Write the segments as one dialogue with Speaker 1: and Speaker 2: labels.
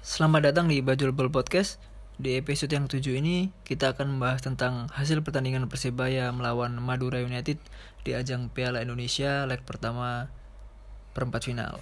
Speaker 1: Selamat datang di Bajulbel Podcast. Di episode yang 7 ini, kita akan membahas tentang hasil pertandingan Persebaya melawan Madura United di ajang Piala Indonesia leg pertama perempat final.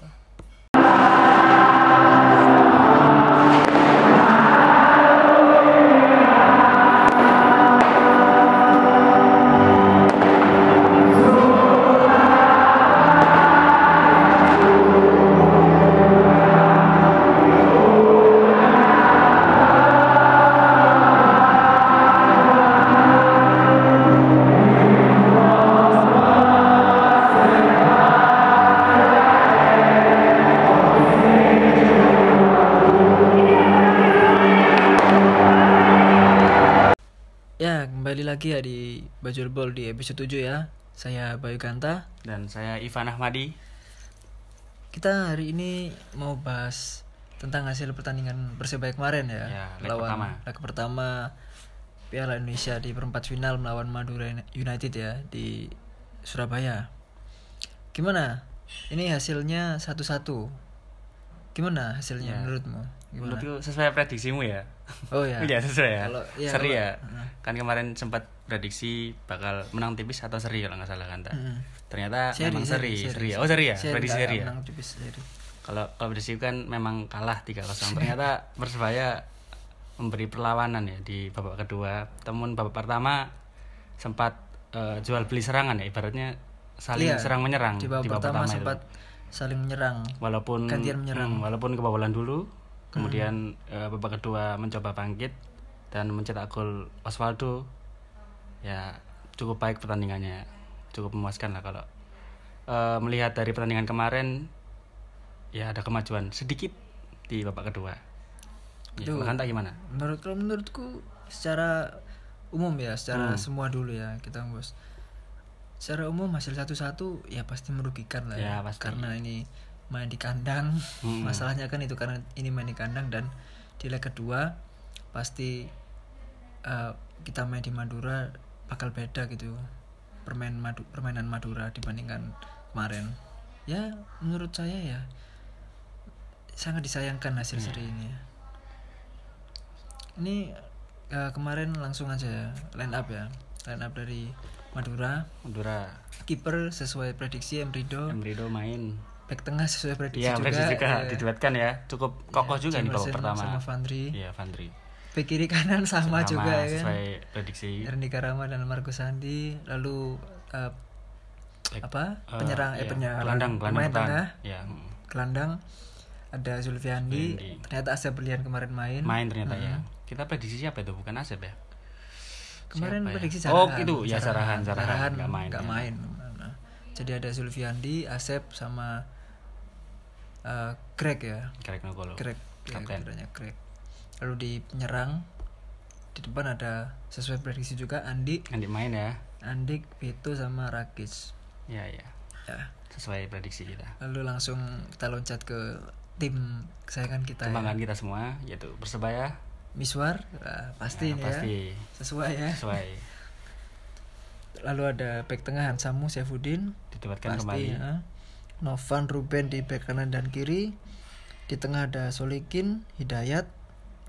Speaker 1: Ya, kembali lagi ya di Bajulbel di episode 7 ya. Saya Bayu Ganta.
Speaker 2: Dan saya Ivan Ahmadi.
Speaker 1: Kita hari ini mau bahas tentang hasil pertandingan Persebaya kemarin ya.
Speaker 2: Ya, leg
Speaker 1: melawan
Speaker 2: pertama.
Speaker 1: leg pertama Piala Indonesia di perempat final melawan Madura United ya di Surabaya. Gimana? Ini hasilnya satu-satu. Gimana
Speaker 2: Ya.
Speaker 1: hasilnya menurutmu? Gimana?
Speaker 2: Menurutku sesuai prediksimu ya.
Speaker 1: Oh ya.
Speaker 2: Iya sesuai ya.
Speaker 1: Kalau- iya,
Speaker 2: seri
Speaker 1: kalau-
Speaker 2: ya. Kan kemarin sempat prediksi bakal menang tipis atau seri kalau nggak salah kan. Ta?
Speaker 1: Mm-mm.
Speaker 2: Ternyata memang seri, seri, ya. Oh seri ya. prediksi
Speaker 1: nggak
Speaker 2: seri ya.
Speaker 1: menang tipis, seri.
Speaker 2: Kalau kalau prediksi kan memang kalah 3-0. Ternyata Persebaya memberi perlawanan ya di babak kedua. Temun babak pertama sempat eh, jual beli serangan ya ibaratnya saling
Speaker 1: Iya,
Speaker 2: serang menyerang
Speaker 1: Di babak pertama,
Speaker 2: itu.
Speaker 1: sempat saling menyerang.
Speaker 2: walaupun
Speaker 1: Gantian menyerang. Hmm.
Speaker 2: Hmm, walaupun kebobolan dulu kemudian eh, babak kedua mencoba bangkit dan mencetak gol Osvaldo ya cukup baik pertandingannya cukup memuaskan lah kalau eh, melihat dari pertandingan kemarin ya ada kemajuan sedikit di babak kedua ya,
Speaker 1: Duh.
Speaker 2: kalau Hanta gimana
Speaker 1: menurut kalau menurutku secara umum ya
Speaker 2: Hmm.
Speaker 1: secara semua dulu ya kita bos secara umum hasil satu-satu ya pasti merugikan lah ya,
Speaker 2: Ya, pasti.
Speaker 1: karena ini main di kandang masalahnya kan itu karena ini main di kandang dan di leg kedua pasti eh, kita main di Madura bakal beda gitu permain madu, permainan Madura dibandingkan kemarin ya menurut saya ya sangat disayangkan hasil seri ini ya ini eh, kemarin langsung aja ya, line up ya line up dari Madura
Speaker 2: Madura
Speaker 1: kiper sesuai prediksi Emrido
Speaker 2: Emrido main
Speaker 1: back tengah sesuai prediksi
Speaker 2: ya
Speaker 1: juga,
Speaker 2: juga, juga
Speaker 1: eh,
Speaker 2: diduetkan ya cukup kokoh juga di babak
Speaker 1: Jamerson
Speaker 2: pertama
Speaker 1: sama Vandri
Speaker 2: Iya Vandri
Speaker 1: back kiri kanan sama,
Speaker 2: Sama,
Speaker 1: juga ya kan
Speaker 2: sesuai prediksi
Speaker 1: Randy Karama dan Marco Sandi lalu eh,
Speaker 2: Back-
Speaker 1: apa penyerang eh
Speaker 2: iya,
Speaker 1: penyerang
Speaker 2: gelandang gelandang
Speaker 1: pemain
Speaker 2: bertahan.
Speaker 1: tengah
Speaker 2: Iya, mm.
Speaker 1: gelandang ada Zulfiandi
Speaker 2: Zulfiandi.
Speaker 1: ternyata Asep Berlian kemarin main
Speaker 2: main ternyata ya kita prediksi siapa itu bukan Asep ya
Speaker 1: Kemarin
Speaker 2: Siapa ya?
Speaker 1: prediksi
Speaker 2: Oh,
Speaker 1: Sarahan.
Speaker 2: gitu. Ya, Sarahan, Sarahan.
Speaker 1: nggak
Speaker 2: Nggak
Speaker 1: main.
Speaker 2: main, ya.
Speaker 1: Nah, Jadi ada Zulfiandi, Asep sama eh, Greg ya.
Speaker 2: Greg Nogolo
Speaker 1: Greg ya,
Speaker 2: Gitu. Kapten.
Speaker 1: kiranya Greg. Lalu di penyerang di depan ada sesuai prediksi juga Andi,
Speaker 2: Nanti main ya
Speaker 1: Andik, Vito sama Rakis.
Speaker 2: ya ya
Speaker 1: Ya.
Speaker 2: sesuai prediksi kita
Speaker 1: Lalu langsung kita loncat ke tim kesayangan kita ya.
Speaker 2: kebanggaan kita semua yaitu persebaya
Speaker 1: Miswar eh, pasti
Speaker 2: Ya,
Speaker 1: ini
Speaker 2: pasti
Speaker 1: ya. Sesuai ya.
Speaker 2: sesuai
Speaker 1: Lalu ada back tengah Hansamu Saifuddin,
Speaker 2: didebatkan
Speaker 1: pasti
Speaker 2: Kan kembali
Speaker 1: ya. Novan Ruben di bek kanan dan kiri di tengah ada Solikin Hidayat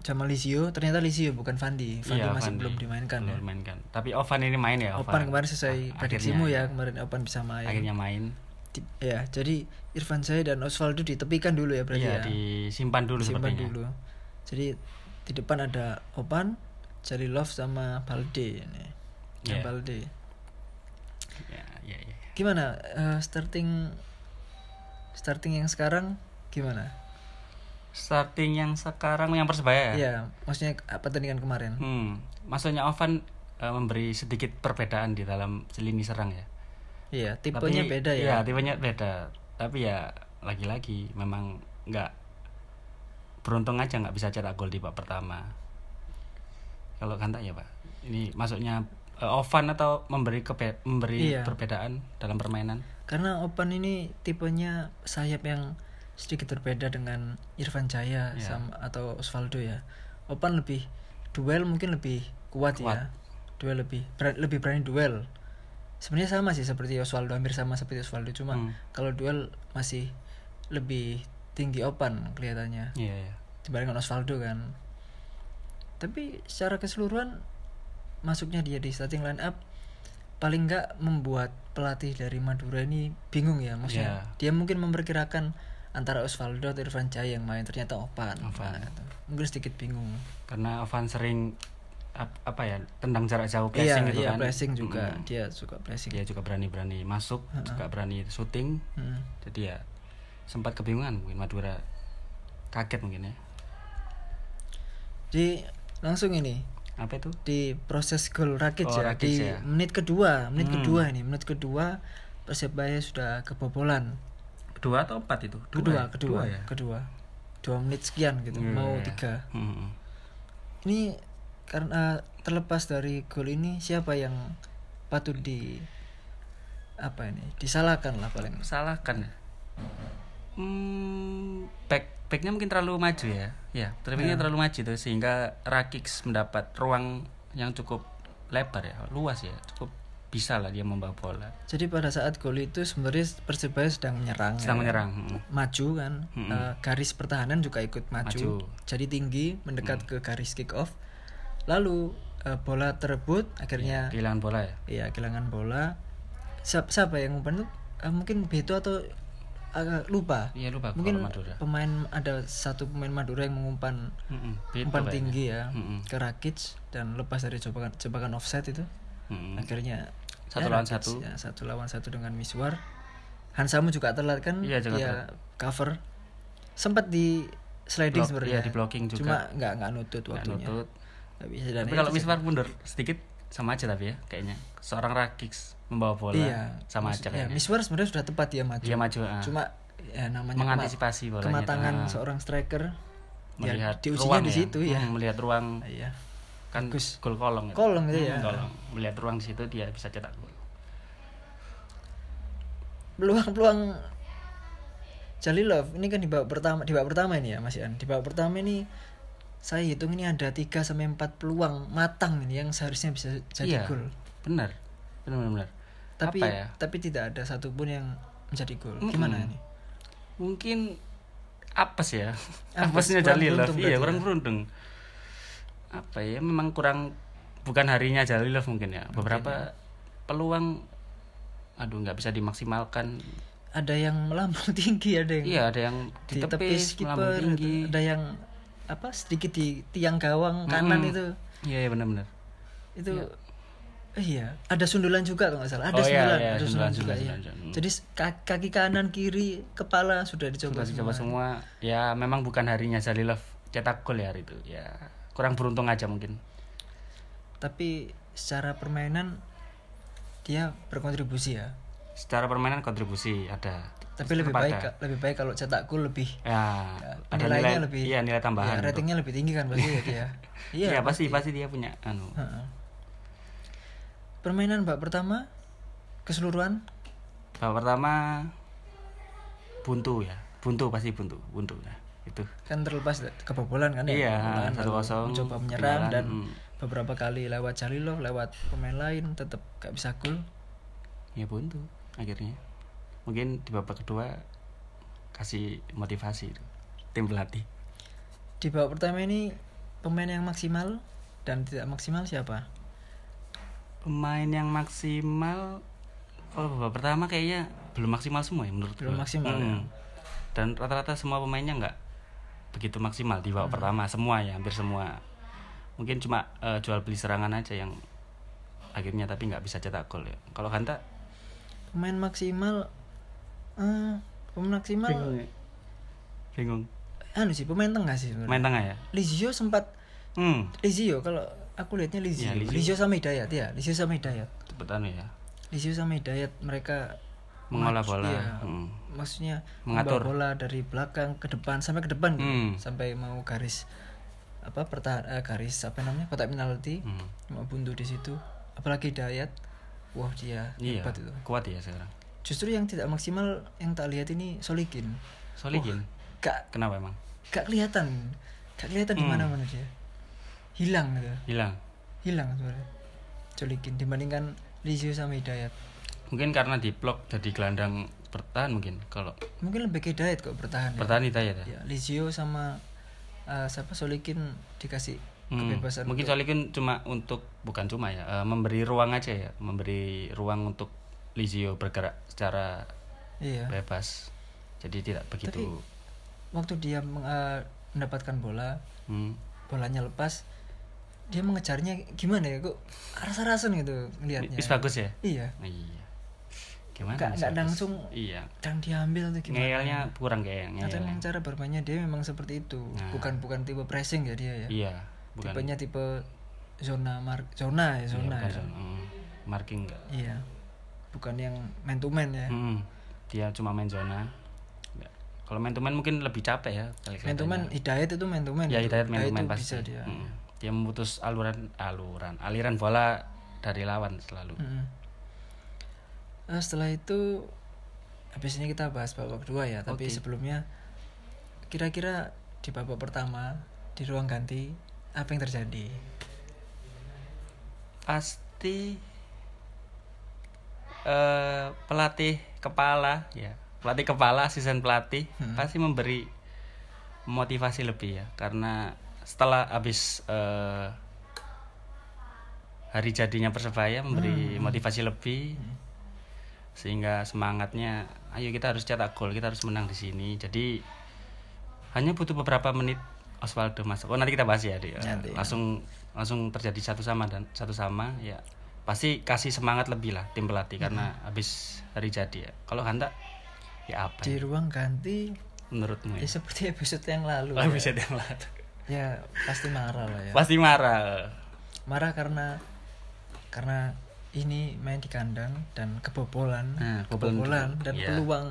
Speaker 1: sama Lisio ternyata Lisio bukan Fandi Fandi
Speaker 2: Iya,
Speaker 1: masih
Speaker 2: Fandi.
Speaker 1: belum dimainkan
Speaker 2: belum
Speaker 1: ya
Speaker 2: dimainkan tapi Ovan ini main ya
Speaker 1: Opan kemarin sesuai
Speaker 2: Akhirnya.
Speaker 1: prediksimu ya kemarin Opan bisa main
Speaker 2: akhirnya main
Speaker 1: Di- ya jadi Irfan Zahid dan Osvaldo ditepikan dulu ya berarti
Speaker 2: iya
Speaker 1: ya
Speaker 2: disimpan dulu
Speaker 1: simpan
Speaker 2: sepertinya
Speaker 1: dulu jadi di depan ada Opan Jalilov sama Balde ini Yang
Speaker 2: Iya.
Speaker 1: Balde
Speaker 2: ya ya ya
Speaker 1: gimana eh, starting starting yang sekarang gimana
Speaker 2: starting yang sekarang yang persebaya ya
Speaker 1: Iya, maksudnya eh, pertandingan kemarin.
Speaker 2: Hmm, maksudnya Ovan eh, memberi sedikit perbedaan di dalam lini serang ya.
Speaker 1: Iya, tipenya
Speaker 2: Tapi-
Speaker 1: beda ya.
Speaker 2: Iya, tipenya beda. Tapi ya lagi-lagi memang nggak beruntung aja nggak bisa cetak gol di babak pertama. Kalau Kanta ya pak, ini maksudnya eh, Ovan atau memberi kebe- memberi
Speaker 1: Iya.
Speaker 2: perbedaan dalam permainan.
Speaker 1: Karena Opan ini tipenya sayap yang sedikit berbeda dengan Irfan Jaya sama atau Osvaldo ya. Opan lebih duel mungkin lebih kuat, ya. Duel lebih ber- lebih berani duel. Sebenarnya sama sih seperti Osvaldo, hampir sama seperti Osvaldo cuma
Speaker 2: Hmm.
Speaker 1: kalau duel masih lebih tinggi Opan kelihatannya.
Speaker 2: Iya, iya.
Speaker 1: dibandingkan Osvaldo kan tapi secara keseluruhan masuknya dia di starting line up paling nggak membuat pelatih dari Madura ini bingung ya maksudnya
Speaker 2: Iya.
Speaker 1: dia mungkin memperkirakan antara Osvaldo atau Irfan Jaya yang main ternyata Opan,
Speaker 2: Opan.
Speaker 1: Nah, gitu. mungkin sedikit bingung
Speaker 2: karena Ovan sering ap- apa ya tendang jarak jauh pressing
Speaker 1: iya
Speaker 2: gitu
Speaker 1: iya
Speaker 2: kan Iya.
Speaker 1: pressing juga
Speaker 2: Mm-mm.
Speaker 1: dia suka pressing
Speaker 2: dia juga berani-berani masuk juga berani syuting
Speaker 1: Mm.
Speaker 2: jadi ya sempat kebingungan mungkin Madura kaget mungkin ya
Speaker 1: jadi langsung ini
Speaker 2: apa itu
Speaker 1: di proses gol Rakic
Speaker 2: Oh,
Speaker 1: ya
Speaker 2: Rakic
Speaker 1: di
Speaker 2: ya.
Speaker 1: menit kedua menit
Speaker 2: Hmm.
Speaker 1: kedua ini menit kedua Persebaya sudah kebobolan
Speaker 2: kedua atau empat itu
Speaker 1: kedua kedua
Speaker 2: ya
Speaker 1: kedua dua menit sekian gitu
Speaker 2: Iya,
Speaker 1: mau
Speaker 2: iya.
Speaker 1: tiga
Speaker 2: Mm-mm.
Speaker 1: ini karena terlepas dari gol ini siapa yang patut di apa ini disalahkan lah paling
Speaker 2: salahkan ya hmm, back backnya mungkin terlalu maju ya ya terlalu terlalu maju tuh sehingga Rakic mendapat ruang yang cukup lebar ya luas ya cukup bisa lah dia membawa bola
Speaker 1: jadi pada saat gol itu sebenarnya Persebaya sedang menyerang
Speaker 2: sedang
Speaker 1: ya.
Speaker 2: menyerang Mm.
Speaker 1: maju kan
Speaker 2: Mm-mm.
Speaker 1: Eh, garis pertahanan juga ikut maju,
Speaker 2: Maju.
Speaker 1: jadi tinggi mendekat ke garis kick off lalu eh, bola terebut akhirnya
Speaker 2: kehilangan bola ya
Speaker 1: ya kehilangan bola siapa, siapa yang umpan itu Eh, mungkin Beto atau agak lupa
Speaker 2: iya lupa
Speaker 1: mungkin
Speaker 2: kalau Madura
Speaker 1: pemain ada satu pemain Madura yang mengumpan
Speaker 2: Mm-mm, Beto
Speaker 1: umpan
Speaker 2: kayaknya.
Speaker 1: tinggi ya
Speaker 2: Mm-mm,
Speaker 1: ke Rakic dan lepas dari jebakan jebakan offset itu
Speaker 2: mm-mm.
Speaker 1: akhirnya
Speaker 2: Mm. Satu
Speaker 1: ya,
Speaker 2: lawan
Speaker 1: Rakic,
Speaker 2: satu.
Speaker 1: ya, satu lawan satu dengan Miswar Hansamu juga telat kan
Speaker 2: Iya, juga
Speaker 1: dia cover sempat di sliding
Speaker 2: Block,
Speaker 1: sebenarnya
Speaker 2: iya, di blocking juga.
Speaker 1: cuma nggak nggak nutut
Speaker 2: Nggak
Speaker 1: waktunya
Speaker 2: nutut.
Speaker 1: Nggak bisa dan
Speaker 2: tapi
Speaker 1: itu
Speaker 2: kalau
Speaker 1: sih.
Speaker 2: Miswar mundur sedikit sama aja tapi ya kayaknya seorang Rakic membawa bola
Speaker 1: iya
Speaker 2: sama
Speaker 1: maksud-
Speaker 2: aja
Speaker 1: ya,
Speaker 2: kayaknya
Speaker 1: Miswar sebenarnya sudah tepat dia maju
Speaker 2: dia maju ah.
Speaker 1: cuma ya namanya kema-
Speaker 2: mengantisipasi bolanya
Speaker 1: kematangan
Speaker 2: Ah.
Speaker 1: seorang striker
Speaker 2: melihat
Speaker 1: ya, diujinya
Speaker 2: ruang
Speaker 1: di
Speaker 2: ya.
Speaker 1: situ ya,
Speaker 2: Hmm, melihat ruang
Speaker 1: Iya.
Speaker 2: kan
Speaker 1: Bagus.
Speaker 2: gol kolong ya.
Speaker 1: Kolong itu
Speaker 2: Hmm,
Speaker 1: ya.
Speaker 2: kolong. melihat ruang di situ dia bisa cetak gol
Speaker 1: peluang-peluang Jalilov ini kan di babak pertama di babak pertama ini ya Mas Ian di babak pertama ini saya hitung ini ada 3 sampai 4 peluang matang ini yang seharusnya bisa jadi
Speaker 2: Iya.
Speaker 1: gol
Speaker 2: benar benar benar, benar.
Speaker 1: tapi
Speaker 2: Apa ya?
Speaker 1: tapi tidak ada satupun yang menjadi gol
Speaker 2: Mm-mm.
Speaker 1: gimana ini
Speaker 2: mungkin apes ya
Speaker 1: Apes,
Speaker 2: apesnya
Speaker 1: kurang
Speaker 2: Jalilov
Speaker 1: beruntung
Speaker 2: iya
Speaker 1: berarti ya.
Speaker 2: kurang beruntung apa ya memang kurang bukan harinya Jalilov mungkin ya beberapa peluang aduh nggak bisa dimaksimalkan
Speaker 1: ada yang melambung tinggi ada yang
Speaker 2: iya ada yang
Speaker 1: di
Speaker 2: ditepis,
Speaker 1: tepis
Speaker 2: melambung
Speaker 1: kiper
Speaker 2: tinggi
Speaker 1: gitu. ada yang apa sedikit di tiang gawang kanan
Speaker 2: Mm-mm.
Speaker 1: itu
Speaker 2: iya iya benar benar
Speaker 1: itu eh, iya ada sundulan juga kalau nggak salah ada
Speaker 2: Oh, iya,
Speaker 1: sundulan
Speaker 2: iya,
Speaker 1: ada sundulan, juga
Speaker 2: sundulan, sundulan,
Speaker 1: iya.
Speaker 2: Hmm. sundulan, sundulan.
Speaker 1: jadi s- ka- kaki kanan kiri kepala sudah dicoba
Speaker 2: Sudah dicoba
Speaker 1: semua.
Speaker 2: semua. Ya memang bukan harinya Jalilov cetak gol ya hari itu. Ya kurang beruntung aja mungkin.
Speaker 1: tapi secara permainan dia berkontribusi ya
Speaker 2: Secara permainan kontribusi ada.
Speaker 1: tapi lebih
Speaker 2: Tetap
Speaker 1: baik
Speaker 2: ada.
Speaker 1: ka- lebih baik kalau cetak gol lebih eh,
Speaker 2: Ya, ada
Speaker 1: nilainya
Speaker 2: nilai,
Speaker 1: lebih-
Speaker 2: Iya nilai
Speaker 1: ya,
Speaker 2: tambahan. untuk-
Speaker 1: ratingnya lebih tinggi kan pasti ya dia
Speaker 2: Iya pasti pasti dia punya anu.
Speaker 1: Heeh. permainan mbak pertama keseluruhan
Speaker 2: Babak pertama buntu ya. Buntu pasti buntu, buntu ya. Itu.
Speaker 1: kan terlepas da- kebobolan kan ya
Speaker 2: Iya,
Speaker 1: Kebobolan,
Speaker 2: satu
Speaker 1: lalu
Speaker 2: kosong,
Speaker 1: mencoba menyerang
Speaker 2: ketinggalan,
Speaker 1: dan
Speaker 2: mm.
Speaker 1: beberapa kali lewat Jalilov lewat pemain lain tetap gak bisa gol
Speaker 2: Ya buntu akhirnya. Mungkin di babak kedua kasih motivasi itu, tim pelatih.
Speaker 1: di babak pertama ini pemain yang maksimal dan tidak maksimal siapa
Speaker 2: pemain yang maksimal kalau babak pertama kayaknya belum maksimal semua ya menurut
Speaker 1: Belum
Speaker 2: gua. Hmm.
Speaker 1: maksimal, ya.
Speaker 2: dan rata-rata semua pemainnya nggak begitu maksimal di
Speaker 1: Hmm.
Speaker 2: babak pertama semua ya hampir semua mungkin cuma eh, jual beli serangan aja yang akhirnya tapi nggak bisa cetak gol ya kalau Hanta
Speaker 1: pemain maksimal eh, pemain maksimal
Speaker 2: ya bingung
Speaker 1: anu sih pemain tengah sih sebenarnya
Speaker 2: main tengah ya
Speaker 1: Lizio sempat
Speaker 2: hmm
Speaker 1: Lizio kalau aku lihatnya Lizio
Speaker 2: Ya, Lizio.
Speaker 1: Lizio sama Hidayat ya Lizio sama Hidayat
Speaker 2: cepet anu ya
Speaker 1: Lizio sama Hidayat mereka
Speaker 2: mengolah
Speaker 1: maju-
Speaker 2: bola
Speaker 1: iya.
Speaker 2: Hmm.
Speaker 1: maksudnya
Speaker 2: Mengatur.
Speaker 1: membawa bola dari belakang ke depan sampai ke depan gitu.
Speaker 2: Hmm.
Speaker 1: sampai mau garis apa pertahan eh, garis apa namanya kotak penalti
Speaker 2: Hmm.
Speaker 1: mau buntu di situ apalagi Dayat wah dia
Speaker 2: iya
Speaker 1: hebat itu
Speaker 2: kuat ya sekarang
Speaker 1: justru yang tidak maksimal yang tak lihat ini Solikin
Speaker 2: Solikin
Speaker 1: gak
Speaker 2: kenapa emang
Speaker 1: gak kelihatan gak kelihatan
Speaker 2: Hmm.
Speaker 1: di mana mana dia hilang gitu
Speaker 2: hilang
Speaker 1: hilang sebenarnya Solikin dibandingkan Lizio sama Hidayat
Speaker 2: mungkin karena di blok jadi gelandang bertahan mungkin kalau
Speaker 1: mungkin lebih ke Hidayat kok bertahan ya.
Speaker 2: bertahan Hidayat ya
Speaker 1: ya Lizio sama eh, siapa Solikin dikasih
Speaker 2: Hmm,
Speaker 1: kebebasan
Speaker 2: mungkin
Speaker 1: untuk-
Speaker 2: Solikin cuma untuk bukan cuma ya eh, memberi ruang aja ya memberi ruang untuk Lizio bergerak secara
Speaker 1: iya
Speaker 2: Ya. bebas jadi tidak begitu
Speaker 1: waktu dia meng- eh, mendapatkan bola
Speaker 2: hmm,
Speaker 1: bolanya lepas dia mengejarnya gimana ya kok rasa-rasan gitu ngelihatnya
Speaker 2: Is bagus ya
Speaker 1: iya
Speaker 2: iya gimana
Speaker 1: Nggak-
Speaker 2: Is
Speaker 1: nggak
Speaker 2: bagus?
Speaker 1: langsung
Speaker 2: iya
Speaker 1: yang diambil tuh gimana
Speaker 2: ngeyelnya kurang kayak
Speaker 1: Atau
Speaker 2: ngeyelnya
Speaker 1: memang cara bermainnya dia memang seperti itu
Speaker 2: Nah.
Speaker 1: bukan bukan tipe pressing ya dia ya
Speaker 2: iya bukan
Speaker 1: tipenya tipe zona mar zona ya
Speaker 2: iya,
Speaker 1: zona
Speaker 2: bukan
Speaker 1: ya.
Speaker 2: zona. Hmm, marking enggak
Speaker 1: iya bukan yang man to man ya
Speaker 2: Hmm, dia cuma main zona Nggak. kalau main to man mungkin lebih capek ya
Speaker 1: man
Speaker 2: kali
Speaker 1: to man
Speaker 2: kelihatannya.
Speaker 1: hidayat itu man to man
Speaker 2: ya
Speaker 1: itu.
Speaker 2: Hidayat main
Speaker 1: Hidayat
Speaker 2: main
Speaker 1: itu
Speaker 2: pasti
Speaker 1: bisa dia
Speaker 2: Mm. dia memutus aluran aluran aliran bola dari lawan selalu
Speaker 1: Mm-mm. Hmm. Eh, setelah itu habis ini kita bahas babak kedua ya tapi
Speaker 2: Oke.
Speaker 1: sebelumnya kira-kira di babak pertama di ruang ganti apa yang terjadi
Speaker 2: pasti eh pelatih kepala ya pelatih kepala season pelatih pasti memberi motivasi lebih ya karena setelah habis eh, hari jadinya persebaya memberi motivasi lebih sehingga semangatnya ayo kita harus cetak gol kita harus menang di sini jadi hanya butuh beberapa menit Oswaldo masuk oh nanti kita bahas ya Dik. Eh,
Speaker 1: Nanti, ya.
Speaker 2: langsung langsung terjadi satu sama dan satu sama ya pasti kasih semangat lebih lah tim pelatih karena habis hari jadi ya kalau Hanta ya apa
Speaker 1: di
Speaker 2: ya,
Speaker 1: ruang ganti
Speaker 2: menurutmu
Speaker 1: ya
Speaker 2: ya?
Speaker 1: seperti episode yang lalu
Speaker 2: Lah,
Speaker 1: ya.
Speaker 2: bisa dia melatih.
Speaker 1: ya pasti marah lah ya
Speaker 2: pasti marah
Speaker 1: marah karena karena ini main di kandang dan kebobolan
Speaker 2: Nah, kebobolan.
Speaker 1: kebobolan dan
Speaker 2: Iya.
Speaker 1: peluang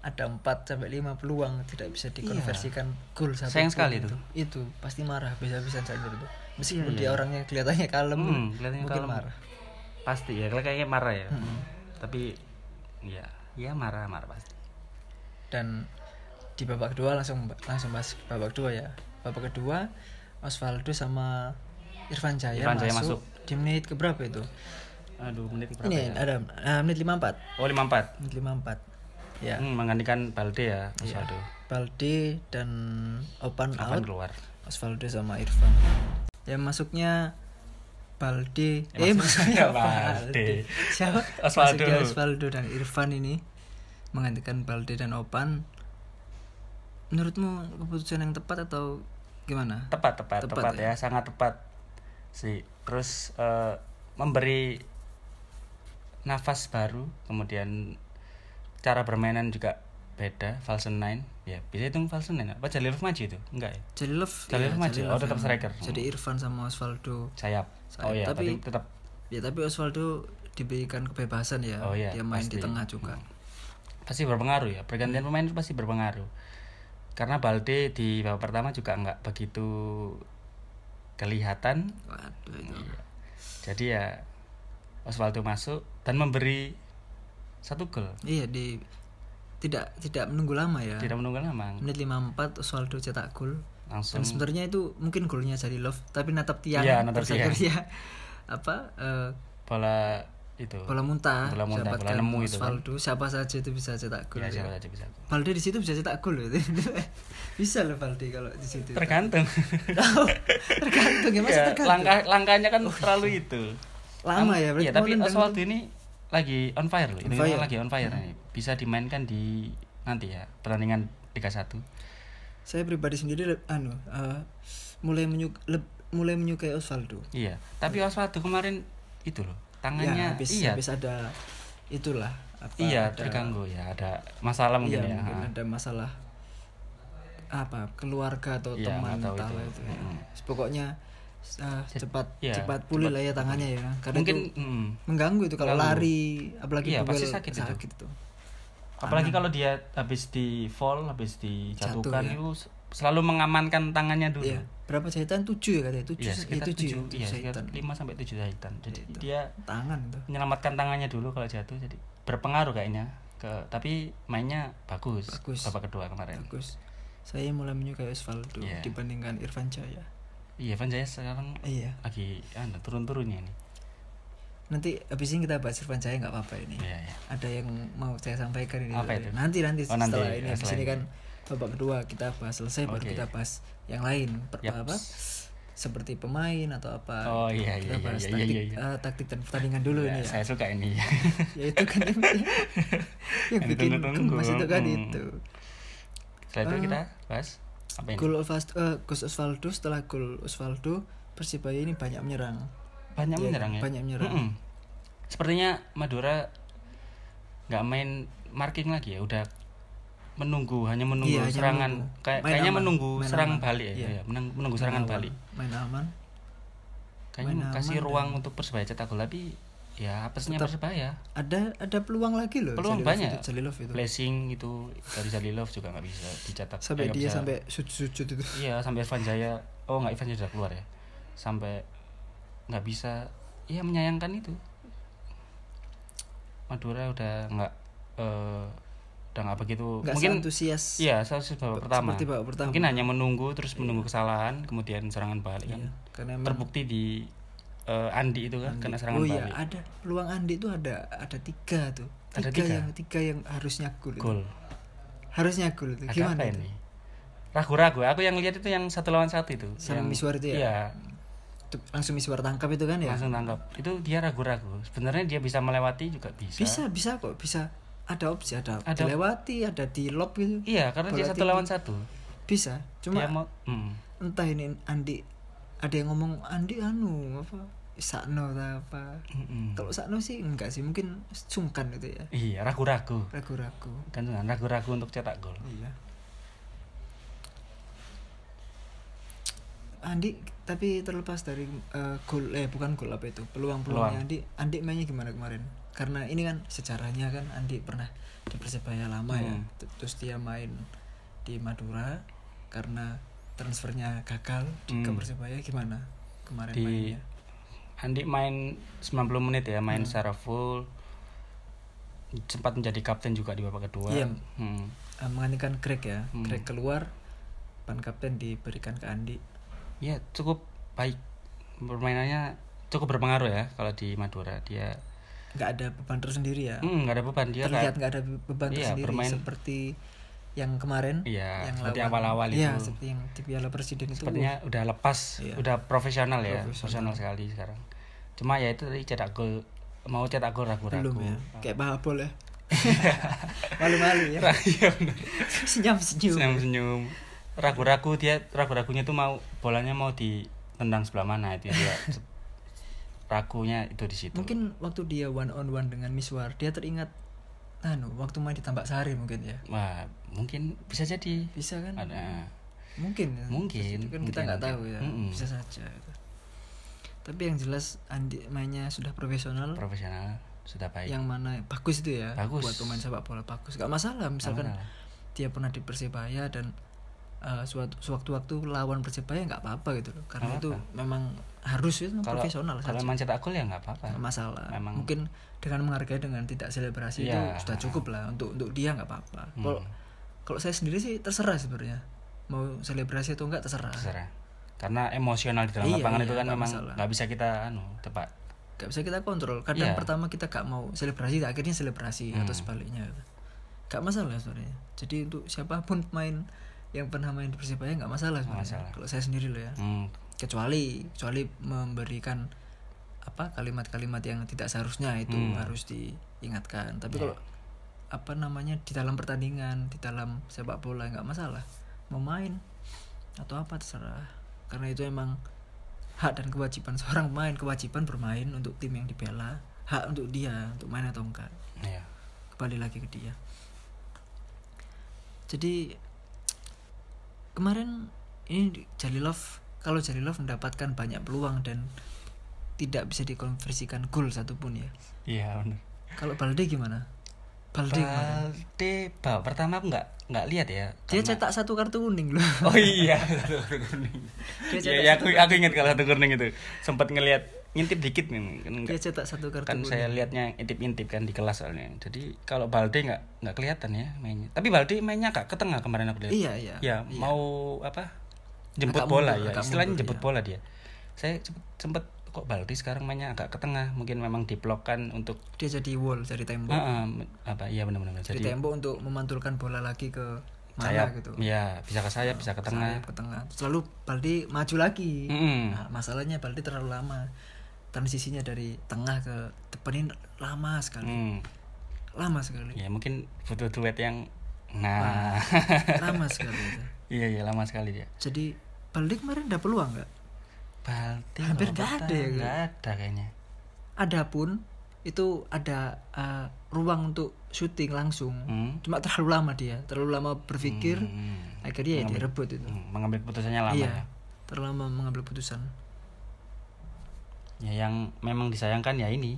Speaker 1: ada 4 sampai 5 peluang tidak bisa dikonversikan gol satu
Speaker 2: Iya. Sayang
Speaker 1: pun
Speaker 2: sekali itu. Iya,
Speaker 1: itu pasti marah bisa-bisa saja itu meskipun dia orangnya kelihatannya kalem
Speaker 2: Hmm, kelihatannya
Speaker 1: mungkin
Speaker 2: kalem.
Speaker 1: marah
Speaker 2: pasti ya kayaknya marah ya tapi ya ya marah marah pasti
Speaker 1: dan di babak kedua langsung langsung bahas babak kedua ya babak kedua Osvaldo sama Irfan Jaya,
Speaker 2: Irfan Jaya
Speaker 1: masuk,
Speaker 2: masuk.
Speaker 1: di menit keberapa itu
Speaker 2: aduh menit berapa
Speaker 1: ini
Speaker 2: ya?
Speaker 1: ada ah, menit 54
Speaker 2: oh lima empat
Speaker 1: menit 54 ya
Speaker 2: hmm, menggantikan Balde ya Osvaldo
Speaker 1: Balde dan open
Speaker 2: Kapan
Speaker 1: out
Speaker 2: keluar
Speaker 1: Osvaldo sama Irfan ya masuknya Balde eh
Speaker 2: Ya,
Speaker 1: maksudnya Balde siapa
Speaker 2: Osvaldo.
Speaker 1: Masuknya Osvaldo dan Irfan ini menggantikan Balde dan Opan menurutmu keputusan yang tepat atau gimana
Speaker 2: tepat tepat
Speaker 1: Tepat,
Speaker 2: tepat, ya. sangat tepat sih terus eh, memberi nafas baru kemudian cara bermainan juga beda Falsen Nine ya bisa hitung Falsen Nine apa Jalil maju itu enggak ya
Speaker 1: Jalilov
Speaker 2: Jalilov maju.
Speaker 1: Jalilov
Speaker 2: Oh, tetap
Speaker 1: Iya, yang-
Speaker 2: striker.
Speaker 1: jadi Irfan sama Osvaldo
Speaker 2: sayap oh
Speaker 1: Sayap,
Speaker 2: ya
Speaker 1: tapi-
Speaker 2: tapi tetap
Speaker 1: ya tapi Osvaldo diberikan kebebasan ya
Speaker 2: Oh, iya,
Speaker 1: dia main di
Speaker 2: pasti. Hmm.
Speaker 1: tengah juga
Speaker 2: pasti berpengaruh ya pergantian pemain itu pasti berpengaruh karena Balde di babak pertama juga nggak begitu kelihatan
Speaker 1: waduh itu
Speaker 2: jadi ya Osvaldo masuk dan memberi satu gol
Speaker 1: Iya di tidak tidak menunggu lama ya.
Speaker 2: tidak menunggu lama
Speaker 1: Menit 54 Osvaldo cetak gol. Dan
Speaker 2: langsung
Speaker 1: sebenarnya itu mungkin golnya jadi love tapi natap tiang.
Speaker 2: Hmm. Iya, natap
Speaker 1: Terus
Speaker 2: tiang.
Speaker 1: akhirnya, apa eh,
Speaker 2: bola itu
Speaker 1: bola muntah
Speaker 2: Bola muntah,
Speaker 1: didapatkan
Speaker 2: bola nemu itu kan.
Speaker 1: Osvaldo siapa saja itu bisa cetak gol.
Speaker 2: ya,
Speaker 1: Ya,
Speaker 2: siapa saja bisa
Speaker 1: Valde di situ bisa cetak gol loh. bisa loh Valde kalau di situ.
Speaker 2: tergantung
Speaker 1: Tahu, tergantung ya, masa
Speaker 2: Ya,
Speaker 1: tergantung.
Speaker 2: Iya,
Speaker 1: Oh, iya.
Speaker 2: langkah langkahnya kan terlalu itu
Speaker 1: Lama ya, berarti
Speaker 2: Iya, tapi
Speaker 1: mau nendang
Speaker 2: Osvaldo ini lagi on fire loh
Speaker 1: On
Speaker 2: ini
Speaker 1: fire. Hmm.
Speaker 2: lagi on fire nih. bisa dimainkan di nanti ya pertandingan Liga 1
Speaker 1: Saya pribadi sendiri le- anu eh, mulai menyuk leb- mulai menyukai Osvaldo.
Speaker 2: Iya, tapi Oswaldo kemarin itu loh,
Speaker 1: Hmm. Ya,
Speaker 2: tangannya
Speaker 1: habis
Speaker 2: iya,
Speaker 1: habis ada itulah apa
Speaker 2: iya
Speaker 1: ada-
Speaker 2: terganggu ya, ada masalah mungkin
Speaker 1: iya,
Speaker 2: ya.
Speaker 1: mungkin
Speaker 2: ha.
Speaker 1: ada masalah apa keluarga atau
Speaker 2: Iya,
Speaker 1: teman
Speaker 2: nggak tahu
Speaker 1: tahu itu,
Speaker 2: itu.
Speaker 1: ya.
Speaker 2: Mm.
Speaker 1: pokoknya eh, cepat
Speaker 2: iya,
Speaker 1: cepat pulih lah ya tangannya ya karena
Speaker 2: Mungkin
Speaker 1: itu
Speaker 2: mm,
Speaker 1: mengganggu itu kalau
Speaker 2: Mengganggu.
Speaker 1: lari apalagi
Speaker 2: Iya,
Speaker 1: pukul,
Speaker 2: pasti sakit itu.
Speaker 1: itu.
Speaker 2: apalagi kalau dia habis di fall, habis dijatuhkan,
Speaker 1: Jatuh, ya.
Speaker 2: itu s- selalu mengamankan tangannya dulu.
Speaker 1: Iya, berapa jahitan tujuh ya katanya tujuh
Speaker 2: Iya,
Speaker 1: sa-
Speaker 2: sekitar
Speaker 1: ya, tujuh,
Speaker 2: tujuh,
Speaker 1: tujuh
Speaker 2: iya,
Speaker 1: jahitan
Speaker 2: sekitar lima sampai tujuh jahitan. Jadi
Speaker 1: Itu.
Speaker 2: dia
Speaker 1: tangan itu
Speaker 2: menyelamatkan tangannya dulu kalau jatuh, jadi berpengaruh kayaknya. Ke, tapi mainnya bagus,
Speaker 1: Bagus.
Speaker 2: babak kedua kemarin.
Speaker 1: bagus saya mulai menyukai Osvaldo
Speaker 2: Iya.
Speaker 1: dibandingkan Irfan Jaya
Speaker 2: Iya, Van Jaya sekarang
Speaker 1: iya
Speaker 2: lagi anu, turun-turunnya ini.
Speaker 1: nanti habis ini kita bahas Irfan Jaya nggak apa-apa ini
Speaker 2: Iya, iya.
Speaker 1: ada yang mau saya sampaikan ini
Speaker 2: Apa
Speaker 1: tadi.
Speaker 2: itu?
Speaker 1: nanti nanti
Speaker 2: Oh, nanti.
Speaker 1: setelah ini
Speaker 2: Ya,
Speaker 1: habis
Speaker 2: setelah
Speaker 1: ini
Speaker 2: ini.
Speaker 1: kan babak kedua kita bahas selesai baru
Speaker 2: Oke.
Speaker 1: kita bahas yang lain per
Speaker 2: Yap.
Speaker 1: apa seperti pemain atau apa
Speaker 2: Oh, iya,
Speaker 1: kita
Speaker 2: iya,
Speaker 1: bahas
Speaker 2: iya, iya,
Speaker 1: taktik
Speaker 2: iya, iya.
Speaker 1: eh, taktik dan pertandingan dulu
Speaker 2: Ya,
Speaker 1: ini ya
Speaker 2: saya suka ini
Speaker 1: ya itu kan yang, yang
Speaker 2: Yang
Speaker 1: bikin
Speaker 2: ditunggu-tunggu.
Speaker 1: gemas itu kan
Speaker 2: Hmm.
Speaker 1: itu Ah.
Speaker 2: setelah itu kita bahas apa ini
Speaker 1: gol Osvaldo eh, Gus Osvaldo setelah gol Osvaldo Persibaya ini banyak menyerang
Speaker 2: banyak
Speaker 1: Iya,
Speaker 2: menyerang ya
Speaker 1: banyak menyerang.
Speaker 2: Mm-mm. sepertinya Madura nggak main marking lagi ya udah menunggu hanya menunggu
Speaker 1: Iya, hanya
Speaker 2: serangan
Speaker 1: menunggu.
Speaker 2: Kayak-
Speaker 1: Main
Speaker 2: kayaknya
Speaker 1: aman,
Speaker 2: menunggu
Speaker 1: main
Speaker 2: serang
Speaker 1: aman.
Speaker 2: balik ya,
Speaker 1: Iya.
Speaker 2: iya, menang- menunggu serangan
Speaker 1: Main aman,
Speaker 2: balik
Speaker 1: main aman
Speaker 2: kayaknya
Speaker 1: Main
Speaker 2: kasih
Speaker 1: aman iya.
Speaker 2: ruang untuk persebaya cetak gol tapi ya apesnya
Speaker 1: Tetap-
Speaker 2: persebaya
Speaker 1: ada ada peluang lagi loh
Speaker 2: Peluang
Speaker 1: Jalilov
Speaker 2: banyak.
Speaker 1: itu, Jalilov itu
Speaker 2: blessing itu dari Jalilov juga nggak bisa dicetak
Speaker 1: sampai
Speaker 2: eh, nggak
Speaker 1: dia
Speaker 2: bisa-
Speaker 1: sampai sujud-sujud itu
Speaker 2: iya sampai Irfan Jaya oh nggak Irfan Jaya sudah keluar ya sampai nggak bisa iya menyayangkan itu Madura udah nggak eh, udah nggak begitu
Speaker 1: nggak
Speaker 2: mungkin
Speaker 1: antusias
Speaker 2: iya seharusnya babak pertama
Speaker 1: seperti babak pertama
Speaker 2: mungkin hanya menunggu terus menunggu kesalahan kemudian serangan balik
Speaker 1: Iya,
Speaker 2: kan
Speaker 1: karena emang
Speaker 2: terbukti di eh, Andi itu kan kena serangan
Speaker 1: oh
Speaker 2: balik
Speaker 1: iya ada peluang Andi itu ada ada tiga tuh tiga,
Speaker 2: Ada tiga?
Speaker 1: yang tiga yang harusnya gol itu.
Speaker 2: gol
Speaker 1: harusnya gol itu
Speaker 2: Ada
Speaker 1: gimana
Speaker 2: apa
Speaker 1: itu?
Speaker 2: ini ragu-ragu aku yang lihat itu yang satu lawan satu itu
Speaker 1: Sama
Speaker 2: yang
Speaker 1: Miswar itu ya?
Speaker 2: iya
Speaker 1: Tuh, langsung miswar tangkap itu kan ya
Speaker 2: langsung tangkap itu dia ragu-ragu sebenarnya dia bisa melewati juga bisa,
Speaker 1: bisa bisa kok bisa ada opsi ada,
Speaker 2: Ada-
Speaker 1: dilewati ada di lob gitu
Speaker 2: iya karena
Speaker 1: Bola
Speaker 2: dia satu
Speaker 1: tinggi.
Speaker 2: lawan satu
Speaker 1: bisa
Speaker 2: dia
Speaker 1: cuma
Speaker 2: mau hmm.
Speaker 1: entah ini Andi ada yang ngomong Andi anu apa Sakno atau apa
Speaker 2: Mm-mm.
Speaker 1: kalau Sakno sih enggak sih mungkin sungkan gitu ya
Speaker 2: mm. iya ragu-ragu
Speaker 1: ragu-ragu
Speaker 2: kan dengan ragu-ragu untuk cetak gol
Speaker 1: Iya. Andi tapi terlepas dari eh, gol eh bukan gol apa itu peluang-peluangnya
Speaker 2: Peluang.
Speaker 1: Andi Andi mainnya gimana kemarin karena ini kan sejarahnya kan Andi pernah di Persebaya lama ya
Speaker 2: Hmm.
Speaker 1: T- terus dia main di Madura karena transfernya gagal di ke
Speaker 2: Hmm.
Speaker 1: Persebaya gimana kemarin
Speaker 2: di
Speaker 1: mainnya
Speaker 2: Andi main 90 menit ya
Speaker 1: Hmm.
Speaker 2: main secara full sempat menjadi kapten juga di babak kedua
Speaker 1: Iya.
Speaker 2: Hmm.
Speaker 1: Eh, menganikan Greg ya
Speaker 2: Hmm.
Speaker 1: Greg keluar pan kapten diberikan ke Andi
Speaker 2: ya cukup baik permainannya cukup berpengaruh ya kalau di Madura dia
Speaker 1: nggak ada beban tersendiri ya
Speaker 2: hmm, nggak ada beban dia
Speaker 1: terlihat
Speaker 2: kayak
Speaker 1: nggak ada beban
Speaker 2: Iya,
Speaker 1: tersendiri
Speaker 2: bermain-
Speaker 1: seperti yang kemarin
Speaker 2: Iya,
Speaker 1: yang
Speaker 2: seperti
Speaker 1: lawan-
Speaker 2: awal-awal
Speaker 1: Iya,
Speaker 2: itu.
Speaker 1: seperti yang di Piala Presiden itu
Speaker 2: sepertinya udah lepas
Speaker 1: Iya.
Speaker 2: udah profesional ya
Speaker 1: Profesional.
Speaker 2: profesional sekali sekarang cuma ya itu tadi cetak gol mau cetak gol ragu-ragu
Speaker 1: belum ya kayak bahabol ya malu-malu ya
Speaker 2: Iya,
Speaker 1: senyum senyum
Speaker 2: senyum senyum ragu-ragu dia ragu-ragunya tuh mau bolanya mau ditendang sebelah mana itu dia ragunya itu di situ
Speaker 1: mungkin waktu dia one on one dengan Miswar dia teringat anu waktu main di Tambak Sari mungkin ya
Speaker 2: wah mungkin bisa jadi
Speaker 1: bisa kan
Speaker 2: ada
Speaker 1: mungkin ya.
Speaker 2: Mungkin,
Speaker 1: Itu kan
Speaker 2: mungkin,
Speaker 1: kita nggak
Speaker 2: mungkin.
Speaker 1: tahu ya
Speaker 2: Mm-mm.
Speaker 1: bisa saja gitu. tapi yang jelas Andi mainnya sudah profesional
Speaker 2: profesional sudah baik
Speaker 1: Hmm. yang mana bagus itu ya
Speaker 2: Bagus.
Speaker 1: buat pemain sepak bola bagus gak masalah misalkan
Speaker 2: Nggak masalah.
Speaker 1: dia pernah di persebaya dan eh, suatu sewaktu-waktu lawan persebaya nggak apa-apa gitu loh karena
Speaker 2: Nggak
Speaker 1: itu
Speaker 2: apa-apa.
Speaker 1: memang harus itu
Speaker 2: kalau
Speaker 1: profesional
Speaker 2: kalau
Speaker 1: saja
Speaker 2: emang cetak gol ya nggak apa-apa
Speaker 1: Nggak masalah
Speaker 2: memang-
Speaker 1: mungkin dengan menghargai dengan tidak selebrasi itu
Speaker 2: Iya. Hmm.
Speaker 1: sudah cukup lah untuk untuk dia nggak apa-apa kalau kalau saya sendiri sih terserah sebenarnya mau selebrasi atau enggak terserah
Speaker 2: terserah karena emosional di dalam
Speaker 1: Iya,
Speaker 2: lapangan
Speaker 1: iya,
Speaker 2: itu kan
Speaker 1: nggak
Speaker 2: memang
Speaker 1: masalah.
Speaker 2: nggak bisa kita anu tepat
Speaker 1: nggak bisa kita kontrol kadang
Speaker 2: Iya. Hmm.
Speaker 1: pertama kita gak mau selebrasi akhirnya selebrasi atau sebaliknya gitu. gak masalah sebenarnya jadi untuk siapapun pemain yang pernah main di persebaya nggak masalah sebenarnya
Speaker 2: masalah.
Speaker 1: kalau saya sendiri loh ya
Speaker 2: hmm,
Speaker 1: kecuali kecuali memberikan apa kalimat-kalimat yang tidak seharusnya itu harus diingatkan tapi kalau apa namanya di dalam pertandingan di dalam sepak bola nggak masalah mau main atau apa terserah karena itu emang hak dan kewajiban seorang pemain kewajiban bermain untuk tim yang dibela hak untuk dia untuk main atau enggak
Speaker 2: iya.
Speaker 1: kembali lagi ke dia jadi kemarin ini Jalilov kalau Jalilov mendapatkan banyak peluang dan tidak bisa dikonversikan gol satupun ya
Speaker 2: iya benar
Speaker 1: kalau Balde gimana Balde kemarin
Speaker 2: Balde bah, pertama aku nggak nggak lihat ya
Speaker 1: dia
Speaker 2: karena-
Speaker 1: cetak satu kartu kuning loh
Speaker 2: oh iya satu kuning
Speaker 1: Dia
Speaker 2: Iya, iya, aku aku ingat kalau satu kuning itu sempat ngelihat ngintip dikit nih kan,
Speaker 1: dia cetak satu kartu
Speaker 2: kan
Speaker 1: kuning
Speaker 2: saya lihatnya intip-intip kan di kelas soalnya jadi kalau Balde nggak nggak kelihatan ya mainnya tapi Balde mainnya kak ke tengah kemarin aku lihat
Speaker 1: iya iya
Speaker 2: ya
Speaker 1: iya.
Speaker 2: mau apa jemput
Speaker 1: Agak
Speaker 2: bola
Speaker 1: mundur,
Speaker 2: ya
Speaker 1: agak
Speaker 2: istilahnya
Speaker 1: mundur,
Speaker 2: jemput
Speaker 1: iya.
Speaker 2: bola dia saya sempet, sempet kok Baldi sekarang mainnya agak ke tengah mungkin memang diblokkan untuk
Speaker 1: dia jadi wall jadi tembok
Speaker 2: Ah, ah, apa iya benar-benar
Speaker 1: jadi
Speaker 2: jadi
Speaker 1: tembok untuk memantulkan bola lagi ke Mana
Speaker 2: sayap
Speaker 1: gitu?
Speaker 2: ya bisa ke sayap bisa ke tengah Hmm.
Speaker 1: sayap ke tengah selalu Baldi maju lagi
Speaker 2: Mm-mm.
Speaker 1: Nah, masalahnya Baldi terlalu lama transisinya dari tengah ke depan ini lama sekali
Speaker 2: Mm.
Speaker 1: lama sekali
Speaker 2: ya mungkin butuh duet yang nah
Speaker 1: lama sekali itu.
Speaker 2: iya iya lama sekali dia
Speaker 1: jadi Baldi kemarin ada peluang nggak
Speaker 2: Balti
Speaker 1: Hampir
Speaker 2: kalau
Speaker 1: nggak ada
Speaker 2: petang
Speaker 1: ya, Kak?
Speaker 2: nggak ada kayaknya
Speaker 1: ada pun itu ada eh, ruang untuk syuting langsung
Speaker 2: Hmm.
Speaker 1: cuma terlalu lama dia terlalu lama berpikir
Speaker 2: Hmm.
Speaker 1: akhirnya ya direbut itu
Speaker 2: Hmm, mengambil keputusannya lama
Speaker 1: iya terlalu lama mengambil keputusan
Speaker 2: ya ya yang memang disayangkan ya ini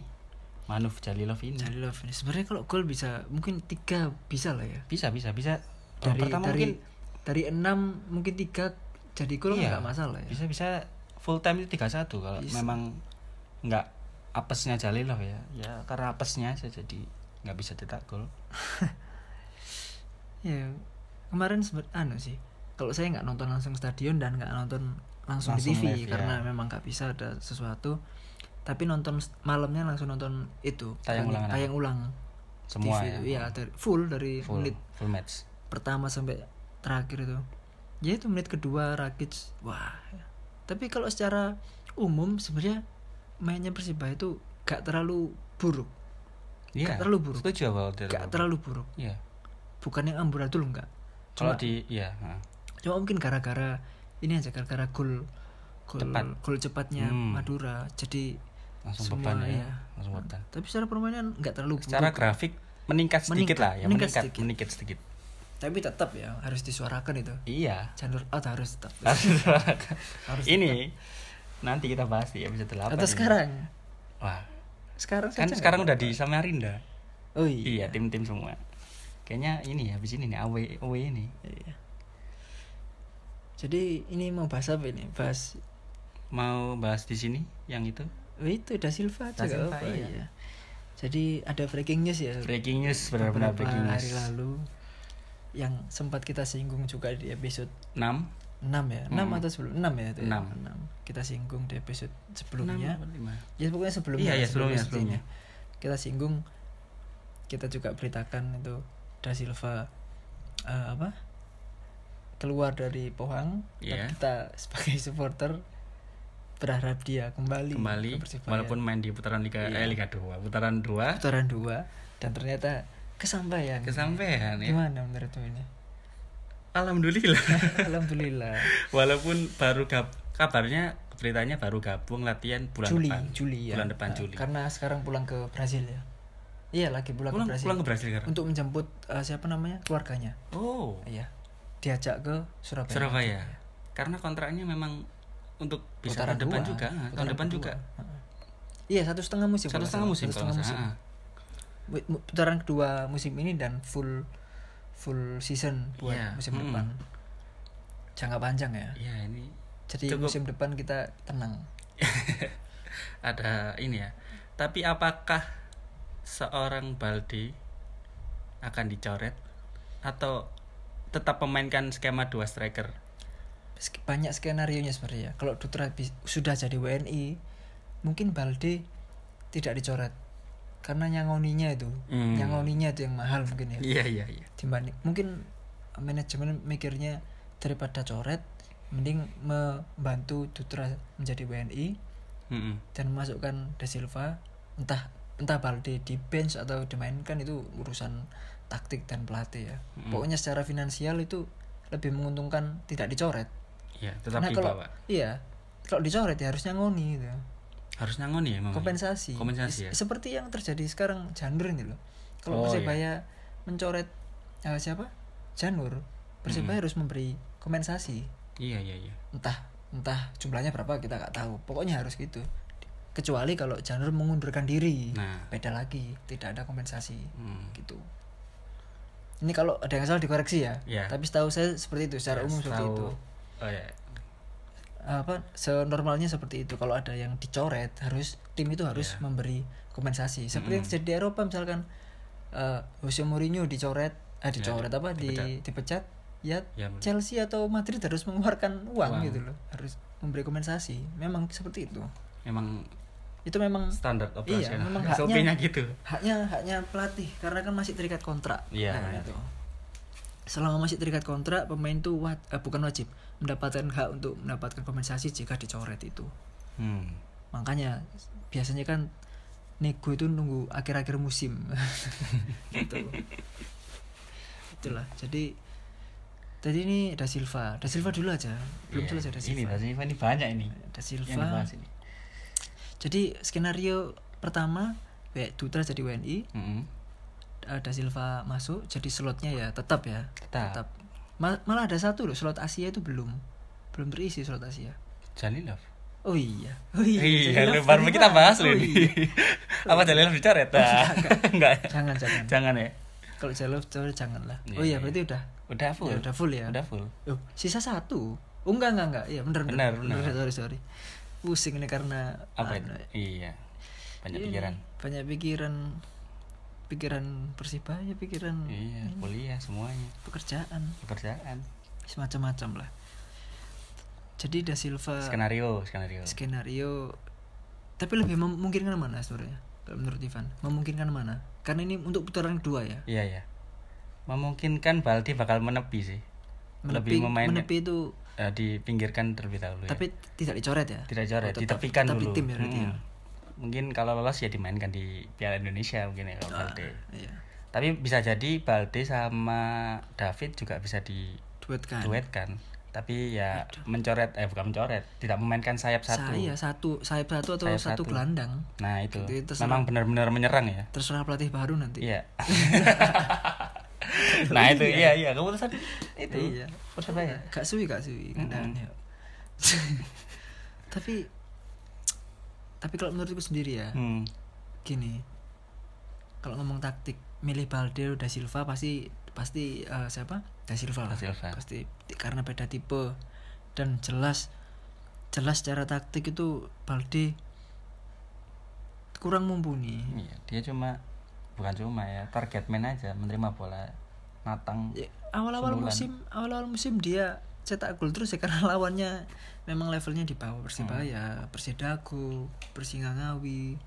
Speaker 2: Manuf Jalilov ini
Speaker 1: Jalilov ini sebenarnya kalau gol bisa mungkin tiga bisa lah ya
Speaker 2: bisa bisa bisa
Speaker 1: dari
Speaker 2: Yang pertama
Speaker 1: dari
Speaker 2: mungkin
Speaker 1: dari enam mungkin tiga jadi gol
Speaker 2: Iya.
Speaker 1: nggak masalah ya
Speaker 2: bisa bisa full time itu 31 kalau
Speaker 1: Bisa.
Speaker 2: memang nggak apesnya Jalilov ya ya karena apesnya saya jadi nggak bisa cetak gol
Speaker 1: ya kemarin sempet anu sih kalau saya nggak nonton langsung stadion dan nggak nonton langsung, di
Speaker 2: Langsung
Speaker 1: TV
Speaker 2: live, ya.
Speaker 1: karena memang nggak bisa ada sesuatu tapi nonton s- malamnya langsung nonton itu tayang,
Speaker 2: Tayang ulangan.
Speaker 1: tayang ulang
Speaker 2: semua
Speaker 1: TV itu.
Speaker 2: ya
Speaker 1: Iya, dari- full dari
Speaker 2: full
Speaker 1: menit
Speaker 2: full match
Speaker 1: pertama sampai terakhir itu ya itu menit kedua Rakic wah tapi kalau secara umum sebenarnya mainnya Persibaya itu gak terlalu buruk
Speaker 2: Iya.
Speaker 1: terlalu buruk.
Speaker 2: setuju awal
Speaker 1: gak terlalu buruk
Speaker 2: Iya.
Speaker 1: bukan yang amburadul enggak
Speaker 2: kalau di iya ha.
Speaker 1: cuma mungkin gara-gara ini aja gara-gara gol gol
Speaker 2: Cepat.
Speaker 1: gol cepatnya
Speaker 2: Hmm.
Speaker 1: Madura jadi
Speaker 2: langsung
Speaker 1: semua,
Speaker 2: beban ya
Speaker 1: iya.
Speaker 2: langsung beban
Speaker 1: tapi secara permainan nggak terlalu
Speaker 2: secara
Speaker 1: buruk.
Speaker 2: grafik meningkat sedikit
Speaker 1: Meningkat-
Speaker 2: lah ya meningkat
Speaker 1: meningkat
Speaker 2: meningkat
Speaker 1: sedikit.
Speaker 2: sedikit,
Speaker 1: tapi tetap ya harus disuarakan itu
Speaker 2: iya
Speaker 1: channel out harus tetap Harus
Speaker 2: ini nanti kita bahas di episode 8
Speaker 1: atau
Speaker 2: ini.
Speaker 1: sekarang
Speaker 2: wah
Speaker 1: sekarang
Speaker 2: kan
Speaker 1: saja
Speaker 2: sekarang
Speaker 1: nggak?
Speaker 2: udah di Samarinda
Speaker 1: oh iya,
Speaker 2: iya tim-tim semua kayaknya ini ya habis ini nih away away ini
Speaker 1: Iya. jadi ini mau bahas apa ini bahas
Speaker 2: mau bahas di sini yang itu
Speaker 1: oh, itu da Silva aja
Speaker 2: Da
Speaker 1: nggak
Speaker 2: Silva,
Speaker 1: apa-apa,
Speaker 2: iya.
Speaker 1: iya. jadi ada breaking news ya
Speaker 2: breaking news benar-benar
Speaker 1: beberapa
Speaker 2: breaking news
Speaker 1: hari lalu yang sempat kita singgung juga di episode
Speaker 2: 6
Speaker 1: 6 ya 6
Speaker 2: Mm-mm.
Speaker 1: atau sebelum 6 ya itu ya?
Speaker 2: Hmm. Enam.
Speaker 1: Enam. kita singgung di episode sebelumnya ya pokoknya sebelumnya
Speaker 2: Iya,
Speaker 1: lah,
Speaker 2: iya, sebelumnya,
Speaker 1: sebelumnya kita singgung kita juga beritakan itu da Silva eh, apa keluar dari Pohang
Speaker 2: Iya.
Speaker 1: dan kita sebagai supporter berharap dia kembali
Speaker 2: kembali
Speaker 1: ke Persibaya.
Speaker 2: walaupun main di putaran liga
Speaker 1: Iya.
Speaker 2: eh, liga 2 putaran 2
Speaker 1: putaran 2 dan ternyata kesampaian
Speaker 2: kesampaian ya
Speaker 1: gimana menurutmu ini
Speaker 2: alhamdulillah
Speaker 1: Alhamdulillah.
Speaker 2: Walaupun baru gab kabarnya beritanya baru gabung latihan bulan
Speaker 1: Juli,
Speaker 2: depan.
Speaker 1: Juli ya.
Speaker 2: Bulan depan
Speaker 1: Nah,
Speaker 2: Juli.
Speaker 1: Karena sekarang pulang ke Brazil ya. Iya, lagi pulang,
Speaker 2: Pulang,
Speaker 1: ke Brazil.
Speaker 2: pulang ke Brasil sekarang.
Speaker 1: Untuk menjemput eh, siapa namanya? keluarganya.
Speaker 2: Oh,
Speaker 1: Iya. Diajak ke Surabaya.
Speaker 2: Surabaya. Karena kontraknya memang untuk bisa tahun depan
Speaker 1: dua,
Speaker 2: juga, ah, tahun
Speaker 1: putaran
Speaker 2: depan
Speaker 1: kedua.
Speaker 2: juga.
Speaker 1: Heeh. Iya, satu setengah musim.
Speaker 2: Satu
Speaker 1: kalau
Speaker 2: setengah
Speaker 1: nggak
Speaker 2: musim
Speaker 1: salah. Satu
Speaker 2: kalau
Speaker 1: setengah musim.
Speaker 2: nggak salah. Ah.
Speaker 1: Wi- mu- Putaran kedua musim ini dan full full season buat
Speaker 2: Iya,
Speaker 1: musim
Speaker 2: mm-mm.
Speaker 1: depan. Jangka panjang ya.
Speaker 2: Iya, ini
Speaker 1: Jadi
Speaker 2: Cukup.
Speaker 1: musim depan kita tenang.
Speaker 2: ada ini ya. Tapi apakah seorang Baldi akan dicoret atau tetap memainkan skema dua striker?
Speaker 1: Sk- banyak skenario nya sebenarnya ya. kalau Dutra bis- sudah jadi WNI mungkin Balde tidak dicoret karena nyangoninya itu
Speaker 2: Hmm.
Speaker 1: nyangoninya itu yang mahal mungkin ya
Speaker 2: Iya, iya, iya.
Speaker 1: dibanding mungkin manajemen mikirnya daripada coret mending membantu Dutra menjadi WNI
Speaker 2: Mm-mm.
Speaker 1: dan memasukkan Da Silva entah entah Balde di bench atau dimainkan itu urusan taktik dan pelatih ya
Speaker 2: Hmm.
Speaker 1: pokoknya secara finansial itu lebih menguntungkan tidak dicoret
Speaker 2: Iya, tetap
Speaker 1: Nah, kalau
Speaker 2: dibawa.
Speaker 1: iya kalau dicoret ya harusnya ngoni gitu
Speaker 2: Harus nangoni ya memang.
Speaker 1: kompensasi
Speaker 2: Kompensasi
Speaker 1: Ya,
Speaker 2: ya.
Speaker 1: seperti yang terjadi sekarang Janur ini loh kalau
Speaker 2: Oh,
Speaker 1: persebaya mencoret eh, siapa Janur persebaya harus memberi kompensasi
Speaker 2: Iya, iya, iya.
Speaker 1: entah entah jumlahnya berapa kita nggak tahu pokoknya harus gitu kecuali kalau Janur mengundurkan diri
Speaker 2: Nah.
Speaker 1: beda lagi tidak ada kompensasi
Speaker 2: Hmm.
Speaker 1: gitu ini kalau ada yang salah dikoreksi ya
Speaker 2: Iya.
Speaker 1: tapi setahu saya seperti itu secara umum seperti
Speaker 2: Tahu-
Speaker 1: itu
Speaker 2: Oh ya.
Speaker 1: apa senormalnya seperti itu kalau ada yang dicoret harus tim itu harus
Speaker 2: Iya.
Speaker 1: memberi kompensasi seperti yang terjadi di Eropa misalkan eh, Jose Mourinho dicoret eh dicoret apa di dipecat ya
Speaker 2: Iya, Ya, benar.
Speaker 1: Chelsea atau Madrid harus mengeluarkan uang
Speaker 2: Uang.
Speaker 1: gitu loh harus memberi kompensasi memang seperti itu
Speaker 2: Memang
Speaker 1: itu memang
Speaker 2: standar
Speaker 1: Iya,
Speaker 2: operasional.
Speaker 1: memang haknya.
Speaker 2: SOP-nya gitu.
Speaker 1: haknya haknya pelatih karena kan masih terikat kontrak
Speaker 2: Iya,
Speaker 1: Nah,
Speaker 2: benar.
Speaker 1: itu selama masih terikat kontrak pemain tuh wa- eh, bukan wajib mendapatkan hak untuk mendapatkan kompensasi jika dicoret itu
Speaker 2: Hmm.
Speaker 1: makanya biasanya kan nego itu nunggu akhir-akhir musim gitu itulah jadi tadi ini da Silva da Silva dulu aja belum
Speaker 2: Iya,
Speaker 1: jelas ya da
Speaker 3: ini
Speaker 1: Silva
Speaker 3: Da Silva ini banyak ini
Speaker 1: da
Speaker 3: yang
Speaker 1: Silva
Speaker 3: dibahas ini
Speaker 1: jadi skenario pertama W- Dutra jadi WNI
Speaker 2: Mm-mm.
Speaker 1: eh, da Silva masuk jadi slotnya ya tetap ya
Speaker 2: Tetap.
Speaker 1: Ma- malah ada satu loh slot Asia itu belum belum terisi slot Asia
Speaker 2: Jalilov.
Speaker 1: oh iya oh iya,
Speaker 3: Iya,
Speaker 1: Jalilov
Speaker 3: lu- baru
Speaker 1: ternyata.
Speaker 3: kita bahas
Speaker 1: Oh
Speaker 3: loh ini.
Speaker 1: iya.
Speaker 3: Apa Jalilov dicoret? Nah, Enggak. ya?
Speaker 1: jangan jangan
Speaker 3: Jangan ya.
Speaker 1: kalau Jalilov coret jangan lah oh
Speaker 2: Iya,
Speaker 1: iya berarti udah
Speaker 3: Udah full.
Speaker 1: ya, udah full ya
Speaker 3: Udah full.
Speaker 1: Loh, sisa satu oh enggak enggak enggak iya bener
Speaker 3: Benar,
Speaker 1: bener
Speaker 3: benar.
Speaker 1: sorry sorry pusing ini karena
Speaker 3: Apa itu?
Speaker 1: anu,
Speaker 3: Iya. Banyak
Speaker 1: iya,
Speaker 3: pikiran.
Speaker 1: banyak pikiran pikiran persibaya pikiran
Speaker 3: Iya, kuliah semuanya.
Speaker 1: pekerjaan
Speaker 3: Pekerjaan.
Speaker 1: semacam-macam lah jadi da Silva
Speaker 3: Skenario, skenario.
Speaker 1: skenario tapi lebih memungkinkan mana sebenarnya kalau menurut Ivan memungkinkan mana karena ini untuk putaran kedua ya
Speaker 3: Iya, iya.
Speaker 2: Memungkinkan Baldi bakal menepi sih.
Speaker 1: menepi
Speaker 2: Lebih memainkan
Speaker 1: menepi itu
Speaker 3: Ya,
Speaker 2: eh, dipinggirkan terlebih
Speaker 3: Iya.
Speaker 2: dahulu. ya.
Speaker 1: tapi tidak dicoret ya
Speaker 2: tidak
Speaker 1: Oh,
Speaker 2: coret,
Speaker 1: tetap-
Speaker 2: ditepikan
Speaker 1: tetap di
Speaker 2: dulu.
Speaker 1: tim ya berarti
Speaker 2: Mm-mm.
Speaker 3: Hmm.
Speaker 1: ya
Speaker 2: Mungkin kalau lolos ya dimainkan di Piala Indonesia mungkin ya kalau Balde.
Speaker 1: iya
Speaker 2: Tapi bisa jadi Balde sama David juga bisa
Speaker 1: duet kan
Speaker 2: diduetkan. Tapi ya mencoret eh bukan mencoret, tidak memainkan sayap satu.
Speaker 1: saya iya, satu sayap satu atau
Speaker 2: Sayap
Speaker 1: satu
Speaker 2: satu.
Speaker 1: gelandang
Speaker 2: Nah, itu.
Speaker 1: Itu- itu
Speaker 2: Memang benar-benar menyerang ya.
Speaker 1: terserah pelatih baru nanti
Speaker 2: Iya. nah, itu iya iya keputusan itu.
Speaker 1: Iya.
Speaker 2: Persebaya.
Speaker 1: gak suwi gak suwi kendaraannya tapi tapi kalau menurutku sendiri ya
Speaker 2: Hmm.
Speaker 1: gini kalau ngomong taktik milih Balde da Silva pasti pasti eh, siapa da Silva lah
Speaker 2: Da Silva.
Speaker 1: pasti ti- karena beda tipe dan jelas jelas secara taktik itu Balde kurang mumpuni
Speaker 2: Iya, dia cuma bukan cuma ya, target man aja menerima bola matang.
Speaker 1: Ya, awal-awal
Speaker 2: Sundulan.
Speaker 1: musim awal-awal musim dia cetak gol terus ya karena lawannya memang levelnya di bawah Persibaya, Persidago, Persingangawi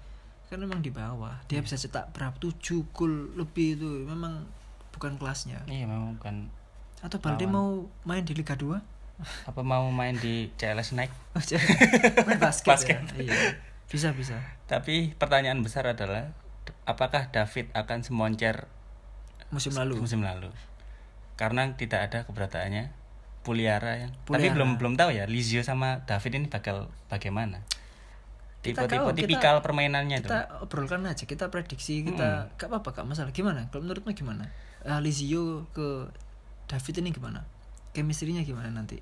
Speaker 1: kan memang di bawah. Dia bisa cetak berapa 7 gol lebih itu memang bukan kelasnya.
Speaker 2: Iya, memang bukan
Speaker 1: Atau Balde mau main di Liga 2?
Speaker 2: apa mau main di CLS naik
Speaker 1: main basket,
Speaker 3: Basket.
Speaker 1: ya. Iya. Bisa bisa.
Speaker 2: tapi pertanyaan besar adalah d- apakah David akan semoncer
Speaker 1: Musim lalu.
Speaker 2: musim lalu karena tidak ada keberataannya Puliara yang
Speaker 1: Puliara.
Speaker 2: tapi belum belum tahu ya Lizio sama David ini bakal bagaimana
Speaker 1: Kita
Speaker 2: tipe-tipe
Speaker 1: tahu, kita-
Speaker 2: tipikal permainannya itu
Speaker 1: Kita obrolkan aja, kita prediksi, kita gak apa-apa, gak masalah. Gimana? Kalau menurutmu gimana? Eh, Lizio ke David ini gimana? Chemistry-nya gimana nanti?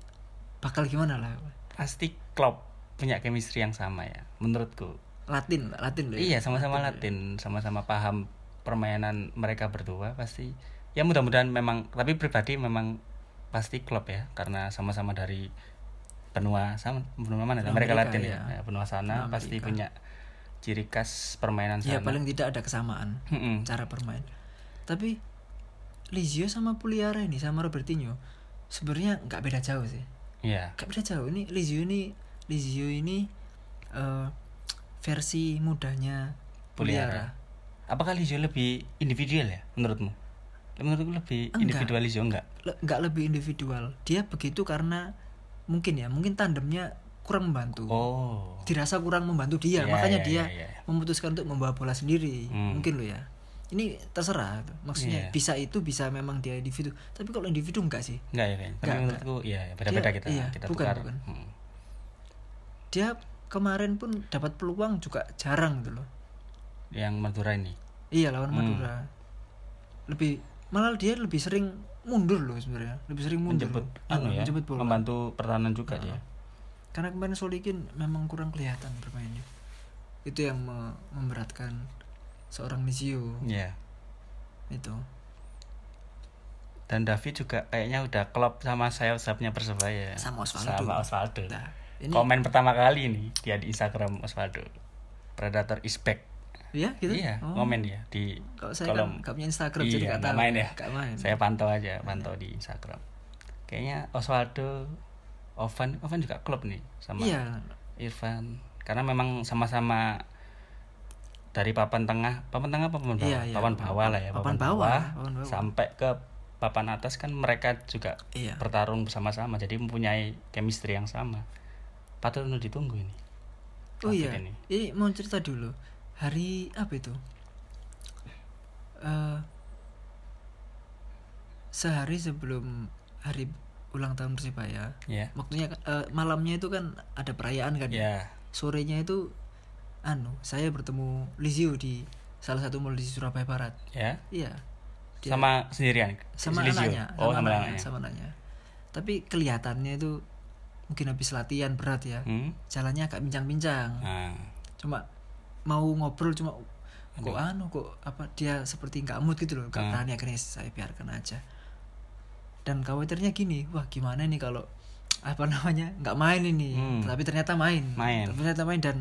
Speaker 1: Bakal gimana lah?
Speaker 2: pasti Klopp punya chemistry yang sama ya menurutku
Speaker 1: Latin, Latin loh. ya?
Speaker 2: Iya sama-sama Latin, sama-sama paham permainan mereka berdua pasti. Ya mudah-mudahan memang tapi pribadi memang pasti klub ya karena sama-sama dari benua sama benua mana?
Speaker 1: Benua
Speaker 2: mereka
Speaker 1: Amerika,
Speaker 2: Latin
Speaker 1: ya.
Speaker 2: ya. Ya, Benua sana
Speaker 1: Benua
Speaker 2: pasti
Speaker 1: Amerika.
Speaker 2: punya ciri khas permainan
Speaker 1: Ya
Speaker 2: sana.
Speaker 1: paling tidak ada kesamaan
Speaker 2: Mm-mm.
Speaker 1: cara bermain. Tapi Lizio sama Puliara ini sama Robertinho sebenarnya nggak beda jauh sih.
Speaker 2: Iya.
Speaker 1: Nggak beda jauh. Ini Lizio ini Lizio ini eh, versi mudanya Puliara.
Speaker 2: Puliara. Apakah Lizio lebih individual ya menurutmu? Menurutku lebih
Speaker 1: Enggak.
Speaker 2: individual Lizio enggak?
Speaker 1: le- nggak lebih individual dia begitu karena mungkin ya mungkin tandemnya kurang membantu
Speaker 2: Oh.
Speaker 1: dirasa kurang membantu dia
Speaker 2: Iya,
Speaker 1: makanya
Speaker 2: iya,
Speaker 1: dia
Speaker 2: iya, iya.
Speaker 1: memutuskan untuk membawa bola sendiri
Speaker 2: Hmm.
Speaker 1: mungkin lo ya ini terserah gitu. maksudnya
Speaker 2: Iya.
Speaker 1: bisa itu bisa memang dia individu tapi kalau individu enggak sih
Speaker 2: Enggak ya kayaknya. Tapi
Speaker 1: Enggak,
Speaker 2: menurutku iya ya, beda-beda
Speaker 1: Dia-
Speaker 2: kita.
Speaker 1: iya,
Speaker 2: kita
Speaker 1: bukan,
Speaker 2: tukar.
Speaker 1: bukan.
Speaker 2: Mm.
Speaker 1: dia kemarin pun dapat peluang juga jarang gitu loh
Speaker 2: Yang Madura ini.
Speaker 1: iya lawan
Speaker 2: Hmm.
Speaker 1: Madura lebih malah dia lebih sering mundur loh sebenarnya lebih sering mundur
Speaker 2: menjemput
Speaker 1: loh. Iya,
Speaker 2: anu ya,
Speaker 1: Menjemput Iya. bola.
Speaker 2: membantu pertahanan juga ya. dia.
Speaker 1: karena kemarin Solikin memang kurang kelihatan bermainnya itu yang me- memberatkan seorang Nizio
Speaker 2: Iya.
Speaker 1: itu
Speaker 2: Dan David juga kayaknya udah klop sama sayap-sayapnya Persebaya.
Speaker 1: Sama Osvaldo.
Speaker 2: Sama Osvaldo.
Speaker 1: nah ini
Speaker 2: Hmm. Komen pertama kali nih dia di Instagram Osvaldo. Predator is back.
Speaker 1: ya gitu
Speaker 2: Iya,
Speaker 1: Oh.
Speaker 2: komen ya di
Speaker 1: kalau saya
Speaker 2: kolom.
Speaker 1: kan gak punya Instagram jadi
Speaker 2: Iya,
Speaker 1: gak
Speaker 2: nggak
Speaker 1: tahu
Speaker 2: main ya.
Speaker 1: Nggak main
Speaker 2: Saya pantau aja,
Speaker 1: Iya.
Speaker 2: pantau di Instagram. Kayaknya Osvaldo, Ovan, Ovan juga klop nih sama
Speaker 1: iya
Speaker 2: Irfan. Karena memang sama-sama dari papan tengah, papan tengah apa papan bawah?
Speaker 1: Iya, iya.
Speaker 2: Papan bawah lah ya,
Speaker 1: Papan bawah, papan bawah.
Speaker 2: sampai ke
Speaker 4: papan atas kan mereka juga
Speaker 1: Iya.
Speaker 4: bertarung bersama-sama jadi mempunyai chemistry yang sama patut untuk ditunggu ini
Speaker 1: Oh
Speaker 4: Asik
Speaker 1: iya,
Speaker 4: ini.
Speaker 1: ini mau cerita dulu. Hari apa itu? Eh sehari sebelum hari ulang tahun Persibaya,
Speaker 2: ya
Speaker 1: waktunya kan- eh, malamnya itu kan ada perayaan kan. ya?
Speaker 2: ya
Speaker 1: Sorenya itu, anu, saya bertemu Lizio di salah satu mall di Surabaya Barat.
Speaker 2: ya
Speaker 1: Iya. Dia-
Speaker 2: sama sendirian
Speaker 1: sama
Speaker 2: Lizio.
Speaker 1: anaknya, sama,
Speaker 2: oh sama
Speaker 1: anaknya,
Speaker 2: anaknya
Speaker 1: sama anaknya. Tapi kelihatannya itu mungkin habis latihan berat ya.
Speaker 2: hmm?
Speaker 1: Jalannya agak bincang-bincang
Speaker 2: nah
Speaker 1: cuma mau ngobrol cuma kok anu kok apa dia seperti nggak mood gitu loh
Speaker 2: Hmm.
Speaker 1: nggak berani akhirnya saya biarkan aja dan khawatirnya gini wah gimana nih kalau apa namanya nggak main ini
Speaker 2: Hmm.
Speaker 1: tapi ternyata main
Speaker 2: Main.
Speaker 1: Tapi ternyata main dan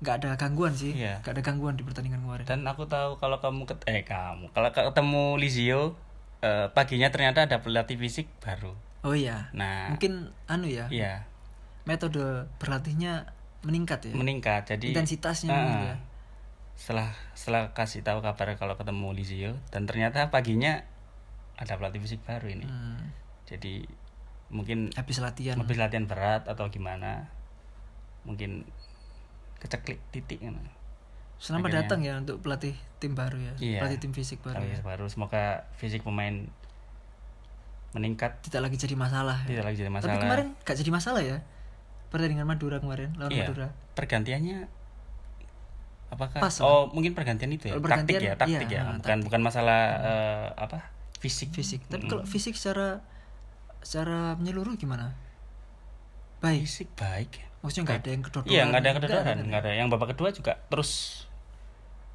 Speaker 1: nggak ada gangguan sih
Speaker 2: Iya.
Speaker 1: nggak ada gangguan di pertandingan kemarin
Speaker 2: dan aku tahu kalau kamu ket eh kamu kalau ketemu Lizio eh, paginya ternyata ada pelatih fisik baru
Speaker 1: oh iya
Speaker 2: nah
Speaker 1: mungkin anu ya
Speaker 2: iya
Speaker 1: metode berlatihnya meningkat ya
Speaker 2: meningkat jadi
Speaker 1: intensitasnya
Speaker 2: Ah.
Speaker 1: mungkin ya.
Speaker 2: setelah setelah kasih tahu kabar kalau ketemu Lizio dan ternyata paginya ada pelatih fisik baru ini
Speaker 1: Hmm,
Speaker 2: jadi mungkin
Speaker 1: habis latihan
Speaker 2: habis latihan berat atau gimana mungkin keceklik titik kan
Speaker 1: selamat
Speaker 2: akhirnya-
Speaker 1: datang ya untuk pelatih tim baru ya
Speaker 2: Iya.
Speaker 1: pelatih tim fisik baru ya.
Speaker 2: Tapi baru semoga fisik pemain meningkat
Speaker 1: tidak lagi jadi masalah ya.
Speaker 2: tidak lagi jadi
Speaker 1: Tapi
Speaker 2: Iya, masalah
Speaker 1: kemarin gak jadi masalah ya pertandingan Madura kemarin lawan
Speaker 2: Iya.
Speaker 1: Madura.
Speaker 2: pergantiannya apakah
Speaker 1: Pas lah.
Speaker 2: oh mungkin pergantian itu ya
Speaker 1: Kalau pergantian,
Speaker 2: taktik ya taktik
Speaker 1: iya,
Speaker 2: ya
Speaker 1: ah,
Speaker 2: bukan bukan masalah eh, apa fisik
Speaker 1: Fisik. Tapi kalau fisik secara secara menyeluruh gimana? Baik.
Speaker 2: fisik baik ya?
Speaker 1: Maksudnya nggak ada yang kedodoran.
Speaker 2: Iya nggak ada kedodoran,
Speaker 1: Nggak ada.
Speaker 2: nggak ada. Yang babak kedua juga terus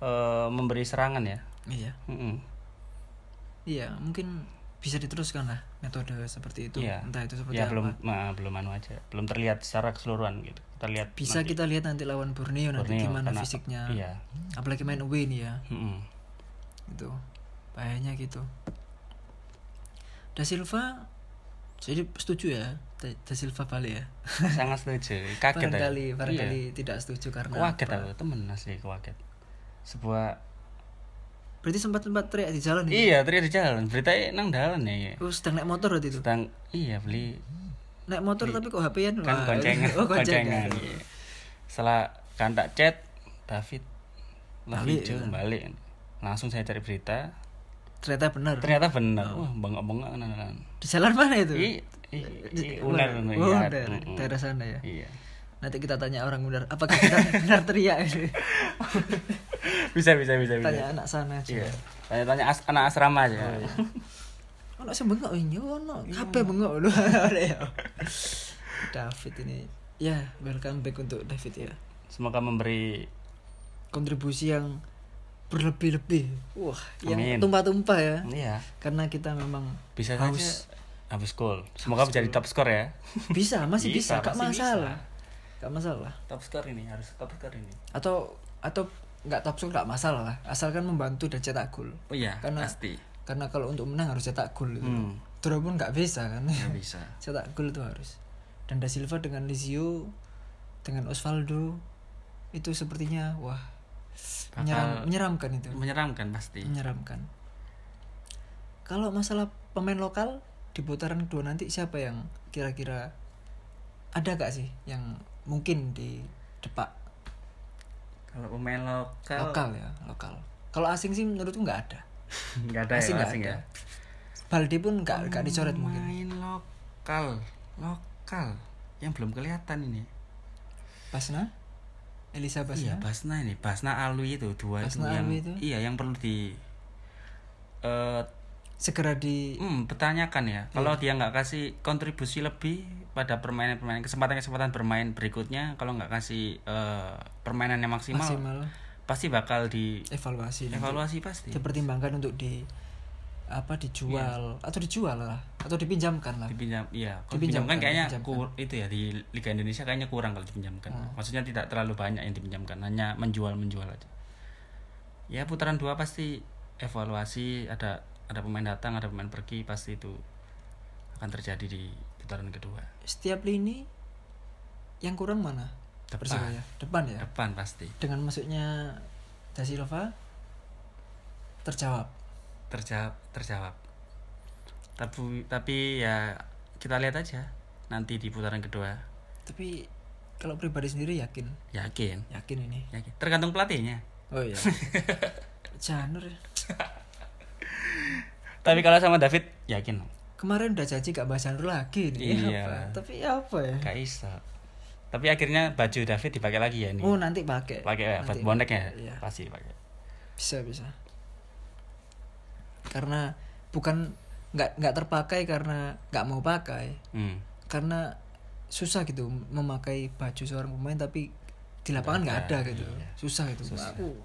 Speaker 2: eh, memberi serangan ya.
Speaker 1: Iya.
Speaker 2: Mm-mm.
Speaker 1: Iya, mungkin bisa diteruskan lah metode seperti itu.
Speaker 2: Iya.
Speaker 1: Entah itu seperti
Speaker 2: Ya
Speaker 1: apa.
Speaker 2: belum nah, belum anu aja, belum terlihat secara keseluruhan gitu. Terlihat
Speaker 1: Bisa
Speaker 2: nanti
Speaker 1: kita lihat nanti lawan Borneo nanti
Speaker 2: Borneo,
Speaker 1: gimana
Speaker 2: karena-
Speaker 1: fisiknya.
Speaker 2: Iya.
Speaker 1: Apalagi main away nih ya.
Speaker 2: Mm-mm.
Speaker 1: Gitu. Bahayanya gitu. Da Silva jadi setuju ya Da Da Silva balik ya.
Speaker 2: Sangat setuju. Kaget aku.
Speaker 1: barangkali
Speaker 2: Iya.
Speaker 1: barangkali tidak setuju karena
Speaker 2: Kaget
Speaker 1: apa.
Speaker 2: aku temen asli kaget. Sebuah
Speaker 1: berarti sempat sempat teriak di jalan ya?
Speaker 2: iya teriak di jalan. Beritanya nang dalan ya.
Speaker 1: Oh, sedang naik motor waktu itu
Speaker 2: Sedang iya beli
Speaker 1: naik motor tapi kok HP-an
Speaker 2: kan
Speaker 1: Wah,
Speaker 2: goncengan,
Speaker 1: oh, goncengan
Speaker 2: goncengan. iya. Setelah kan tak chat David lah
Speaker 1: Balik,
Speaker 2: hijau, balik. Langsung saya cari berita,
Speaker 1: ternyata benar
Speaker 2: ternyata benar
Speaker 1: Oh.
Speaker 2: wah bangga bangga kan kan
Speaker 1: di jalan mana itu
Speaker 2: i i i- ular
Speaker 1: oh,
Speaker 2: nih,
Speaker 1: ular.
Speaker 2: ya. Mm-mm.
Speaker 1: daerah sana ya
Speaker 2: iya
Speaker 1: nanti kita tanya orang benar apakah kita benar teriak ini
Speaker 2: bisa bisa bisa bisa
Speaker 1: tanya Oh, iya. anak sana aja
Speaker 2: iya tanya tanya as anak asrama aja
Speaker 1: anak sing bengok ini ono
Speaker 2: Iya.
Speaker 1: HP bengok lu Ada ya David ini ya welcome back untuk David ya
Speaker 2: semoga memberi
Speaker 1: kontribusi yang berlebih-lebih wah yang
Speaker 2: Amin.
Speaker 1: tumpah-tumpah ya
Speaker 2: iya
Speaker 1: karena kita memang
Speaker 2: bisa
Speaker 1: Haus.
Speaker 2: saja habis goal semoga menjadi top skor ya
Speaker 1: bisa masih bisa,
Speaker 2: Bisa,
Speaker 1: gak
Speaker 2: masih
Speaker 1: masalah gak masalah
Speaker 2: top skor ini harus top skor ini
Speaker 1: atau atau nggak top score gak masalah lah asalkan membantu dan cetak gol
Speaker 2: oh iya
Speaker 1: Karena-
Speaker 2: pasti
Speaker 1: karena kalau untuk menang harus cetak gol gitu.
Speaker 2: Hmm.
Speaker 1: draw pun nggak bisa kan
Speaker 2: nggak bisa
Speaker 1: cetak gol itu harus dan da Silva dengan Lizio dengan Osvaldo itu sepertinya wah menyeram-
Speaker 2: Bakal- Iya.
Speaker 1: menyeramkan itu
Speaker 2: menyeramkan pasti
Speaker 1: menyeramkan kalau masalah pemain lokal di putaran kedua nanti siapa yang kira-kira ada gak sih yang mungkin di depak
Speaker 2: kalau pemain lokal
Speaker 1: lokal ya lokal kalau asing sih menurutku nggak ada
Speaker 2: nggak ada
Speaker 1: asing
Speaker 2: ya
Speaker 1: nggak
Speaker 2: asing
Speaker 1: ada
Speaker 2: ya
Speaker 1: Balde pun nggak nggak dicoret mungkin
Speaker 2: pemain lokal lokal yang belum kelihatan ini
Speaker 1: Basna Elisa Basna
Speaker 2: Iya Basna ini Basna Alwi itu dua
Speaker 1: Basna
Speaker 2: itu yang
Speaker 1: Alwi itu?
Speaker 2: iya yang perlu di eh
Speaker 1: segera di
Speaker 2: hmm, pertanyakan ya kalau
Speaker 1: Iya.
Speaker 2: dia nggak kasih kontribusi lebih pada permainan permainan kesempatan kesempatan bermain berikutnya kalau nggak kasih eh, permainan yang maksimal,
Speaker 1: maksimal
Speaker 2: pasti bakal di
Speaker 1: evaluasi nanti.
Speaker 2: evaluasi pasti
Speaker 1: dipertimbangkan untuk di apa dijual atau dijual lah atau dipinjamkan lah
Speaker 2: dipinjam iya kalau
Speaker 1: Dipinjamkan,
Speaker 2: dipinjamkan kayaknya
Speaker 1: dipinjamkan. Ah.
Speaker 2: kur itu ya di Liga Indonesia kayaknya kurang kalau dipinjamkan maksudnya tidak terlalu banyak yang dipinjamkan hanya menjual menjual aja ya putaran dua pasti evaluasi ada ada pemain datang ada pemain pergi pasti itu akan terjadi di putaran kedua
Speaker 1: setiap lini yang kurang mana
Speaker 2: Depan.
Speaker 1: Persibaya depan ya
Speaker 2: depan pasti
Speaker 1: dengan masuknya Da Silva terjawab
Speaker 2: terjawab terjawab tapi tapi ya kita lihat aja nanti di putaran kedua
Speaker 1: Tapi kalau pribadi sendiri yakin,
Speaker 2: yakin
Speaker 1: yakin ini.
Speaker 2: yakin tergantung pelatihnya
Speaker 1: Oh iya. Janur. ya.
Speaker 2: tapi kalau sama David yakin
Speaker 1: Kemarin udah janji gak bahas Janur lagi nih.
Speaker 2: Iya.
Speaker 1: Apa? Tapi apa ya?
Speaker 2: gak iso tapi akhirnya baju David dipakai lagi ya ini
Speaker 1: Oh nanti pakai.
Speaker 2: pakai ya,
Speaker 1: Nanti
Speaker 2: buat bonek ya
Speaker 1: pakai, Iya.
Speaker 2: pasti pakai
Speaker 1: Bisa bisa. Karena bukan nggak nggak terpakai karena nggak mau pakai
Speaker 2: hmm.
Speaker 1: karena susah gitu memakai baju seorang pemain tapi di lapangan nggak ada gitu susah gitu Aku,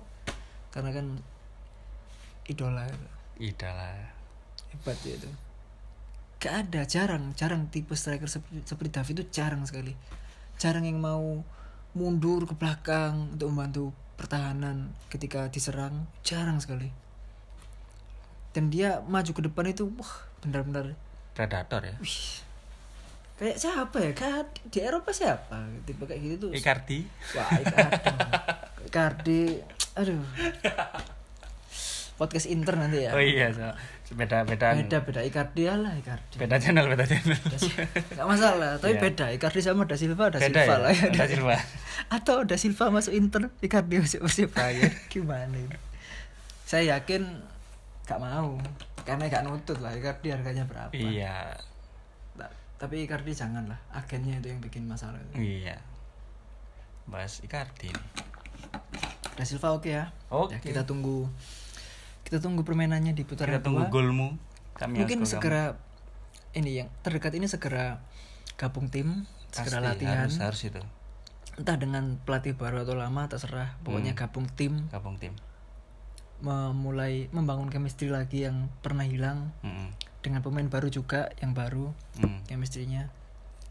Speaker 1: karena kan idola gitu.
Speaker 2: idola
Speaker 1: hebat dia itu gak ada jarang jarang tipe striker seperti, seperti David itu jarang sekali jarang yang mau mundur ke belakang untuk membantu pertahanan ketika diserang jarang sekali dan dia maju ke depan itu wah benar-benar
Speaker 2: predator ya
Speaker 1: wih kayak siapa ya kan di Eropa siapa tipe kayak gitu tuh
Speaker 2: Icardi
Speaker 1: wah Icardi Icardi aduh podcast intern nanti ya
Speaker 2: oh iya so. beda beda
Speaker 1: beda beda Icardi lah Icardi
Speaker 2: beda channel beda channel
Speaker 1: Gak masalah, tapi beda. Icardi sama Da Silva, Da
Speaker 2: Iya. beda
Speaker 1: Silva
Speaker 2: ya
Speaker 1: lah ya.
Speaker 2: Da Silva
Speaker 1: Atau Da Silva masuk Inter, Icardi masuk Persib Bayern. Gimana ini? Saya yakin gak mau. Karena gak nutut lah Icardi harganya berapa.
Speaker 2: iya
Speaker 1: Ta- Tapi Icardi jangan lah, agennya itu yang bikin masalah.
Speaker 2: iya bahas Icardi nih.
Speaker 1: Da Silva oke ya. Ya,
Speaker 2: Oke.
Speaker 1: kita tunggu kita tunggu permainannya di
Speaker 2: kita
Speaker 1: putaran
Speaker 2: tunggu
Speaker 1: kedua.
Speaker 2: golmu kami
Speaker 1: Mungkin
Speaker 2: harus gol kamu.
Speaker 1: segera ini yang terdekat ini segera gabung tim, segera
Speaker 2: Pasti,
Speaker 1: latihan.
Speaker 2: harus, harus itu
Speaker 1: entah dengan pelatih baru atau lama terserah pokoknya
Speaker 2: Hmm.
Speaker 1: gabung tim
Speaker 2: gabung tim
Speaker 1: memulai membangun chemistry lagi yang pernah hilang
Speaker 2: Mm-mm.
Speaker 1: dengan pemain baru juga yang baru
Speaker 2: Mm.
Speaker 1: chemistry-nya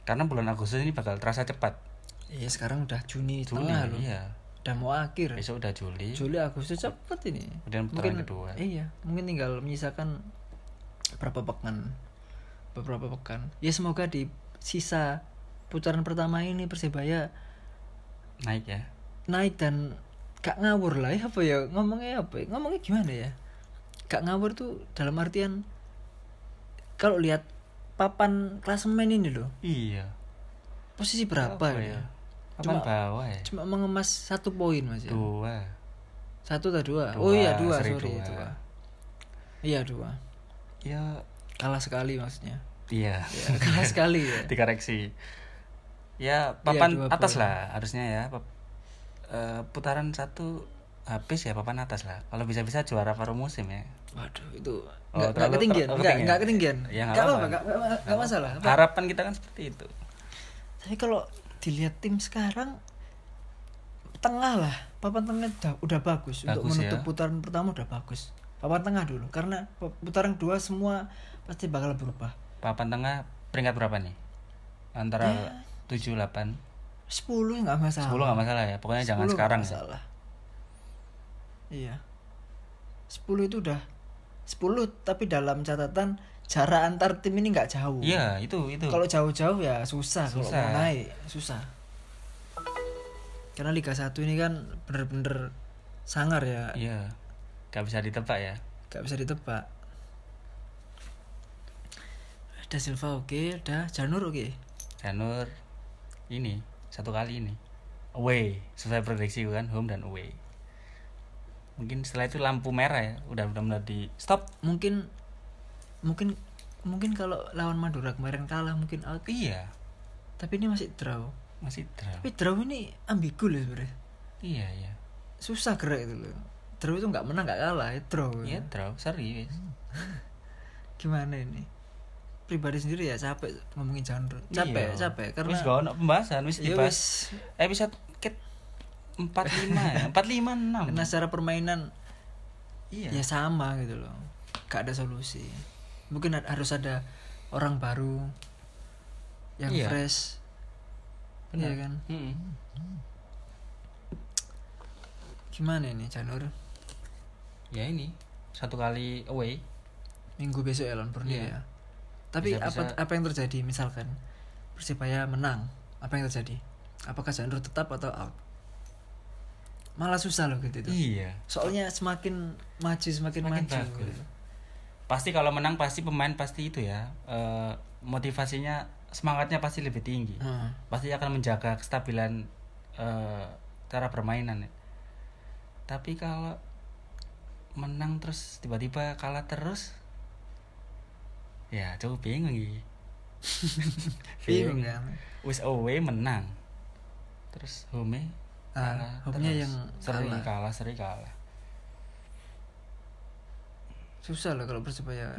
Speaker 2: karena bulan Agustus ini bakal terasa cepat
Speaker 1: iya sekarang udah Juni,
Speaker 2: Juli
Speaker 1: tengah loh
Speaker 2: iya
Speaker 1: udah mau akhir
Speaker 2: besok udah Juli
Speaker 1: Juli Agustus cepet ini
Speaker 2: kemudian putaran kedua
Speaker 1: iya mungkin tinggal menyisakan berapa pekan beberapa pekan ya semoga di sisa putaran pertama ini persebaya
Speaker 2: naik ya
Speaker 1: naik dan gak ngawur lah ya apa ya ngomongnya apa ya? ngomongnya gimana ya gak ngawur tuh dalam artian kalau lihat papan klasemen ini loh
Speaker 2: iya
Speaker 1: posisi berapa
Speaker 2: Apa
Speaker 1: ya?
Speaker 2: ya? papan
Speaker 1: Cuma-
Speaker 2: bawah ya
Speaker 1: cuma mengemas satu poin mas ya
Speaker 2: dua
Speaker 1: satu atau dua,
Speaker 2: Dua,
Speaker 1: oh iya dua
Speaker 2: seri
Speaker 1: sorry
Speaker 2: dua.
Speaker 1: dua iya dua
Speaker 2: ya
Speaker 1: kalah sekali maksudnya
Speaker 2: iya
Speaker 1: Ya, kalah sekali ya
Speaker 2: dikoreksi ya papan
Speaker 1: Iya, dua
Speaker 2: atas
Speaker 1: poin.
Speaker 2: lah harusnya ya Pap- eh, putaran satu habis ya papan atas lah kalau bisa-bisa juara paruh musim ya
Speaker 1: waduh itu
Speaker 2: Oh,
Speaker 1: nggak nggak
Speaker 2: terlalu-
Speaker 1: ketinggian
Speaker 2: terlalu
Speaker 1: nggak
Speaker 2: ketinggian.
Speaker 1: nggak ketinggian
Speaker 2: Ya, nggak
Speaker 1: nggak apa-apa
Speaker 2: apa-apa.
Speaker 1: nggak- nggak nggak masalah
Speaker 2: harapan kita kan seperti itu
Speaker 1: Tapi kalau dilihat tim sekarang tengah lah, papan tengah udah, udah bagus, untuk
Speaker 2: Bagus
Speaker 1: menutup
Speaker 2: ya.
Speaker 1: putaran pertama udah bagus. Papan tengah dulu karena pe- putaran kedua semua pasti bakal berubah.
Speaker 2: papan tengah peringkat berapa
Speaker 1: Eh.
Speaker 2: nih antara tujuh delapan
Speaker 1: 10 nggak masalah.
Speaker 2: sepuluh nggak masalah ya pokoknya
Speaker 1: 10
Speaker 2: jangan
Speaker 1: nggak
Speaker 2: sekarang ya.
Speaker 1: Masalah. Iya. 10 itu udah 10 tapi dalam catatan jarak antar tim ini nggak jauh.
Speaker 2: iya itu itu
Speaker 1: Kalau jauh-jauh ya susah, kalau
Speaker 2: Susah.
Speaker 1: mau naik susah. Karena Liga 1 ini kan bener-bener sangar ya,
Speaker 2: iya nggak bisa ditebak ya
Speaker 1: gak bisa ditebak. Ada Silva oke, ada Janur oke.
Speaker 2: Janur ini satu kali ini away sesuai prediksi gue kan home dan away mungkin setelah itu lampu merah ya udah benar-benar di stop
Speaker 1: Mungkin mungkin mungkin kalau lawan Madura kemarin kalah mungkin out,
Speaker 2: iya
Speaker 1: tapi ini masih draw.
Speaker 2: masih draw
Speaker 1: Tapi draw ini ambigu loh sebenarnya.
Speaker 2: iya iya
Speaker 1: Susah gerak itu loh. Draw itu nggak menang nggak kalah, ya draw.
Speaker 2: iya draw sorry wes.
Speaker 1: gimana ini pribadi sendiri ya capek ngomongin genre capek
Speaker 2: Iya.
Speaker 1: capek karena
Speaker 2: wis gak ono pembahasan wis
Speaker 1: ya
Speaker 2: dibahas
Speaker 1: wis.
Speaker 2: episode ket empat lima ya empat lima enam
Speaker 1: karena secara permainan
Speaker 2: iya
Speaker 1: ya sama gitu loh gak ada solusi mungkin ha- harus ada orang baru yang
Speaker 2: Iya.
Speaker 1: fresh
Speaker 2: Benar.
Speaker 1: Iya kan
Speaker 2: Mm-mm.
Speaker 1: gimana ini Janur
Speaker 2: ya ini satu kali away
Speaker 1: minggu besok Elon Borneo ya
Speaker 2: Iya.
Speaker 1: tapi
Speaker 2: Bisa-bisa-
Speaker 1: apa apa yang terjadi misalkan persebaya menang apa yang terjadi apakah Janur tetap atau out malah susah loh gitu itu
Speaker 2: iya
Speaker 1: soalnya semakin maju semakin,
Speaker 2: Semakin
Speaker 1: maju
Speaker 2: bagus. pasti kalau menang pasti pemain pasti itu ya eh, motivasinya semangatnya pasti lebih tinggi
Speaker 1: Hmm.
Speaker 2: pasti akan menjaga kestabilan eh, cara permainan ya. tapi kalau menang terus tiba-tiba kalah terus ya cukup bingung gitu Iya.
Speaker 1: bingung kan
Speaker 2: wis away menang terus home
Speaker 1: ah home-nya yang
Speaker 2: sering kan.
Speaker 1: kalah.
Speaker 2: kalah sering kalah
Speaker 1: susah loh kalau persebaya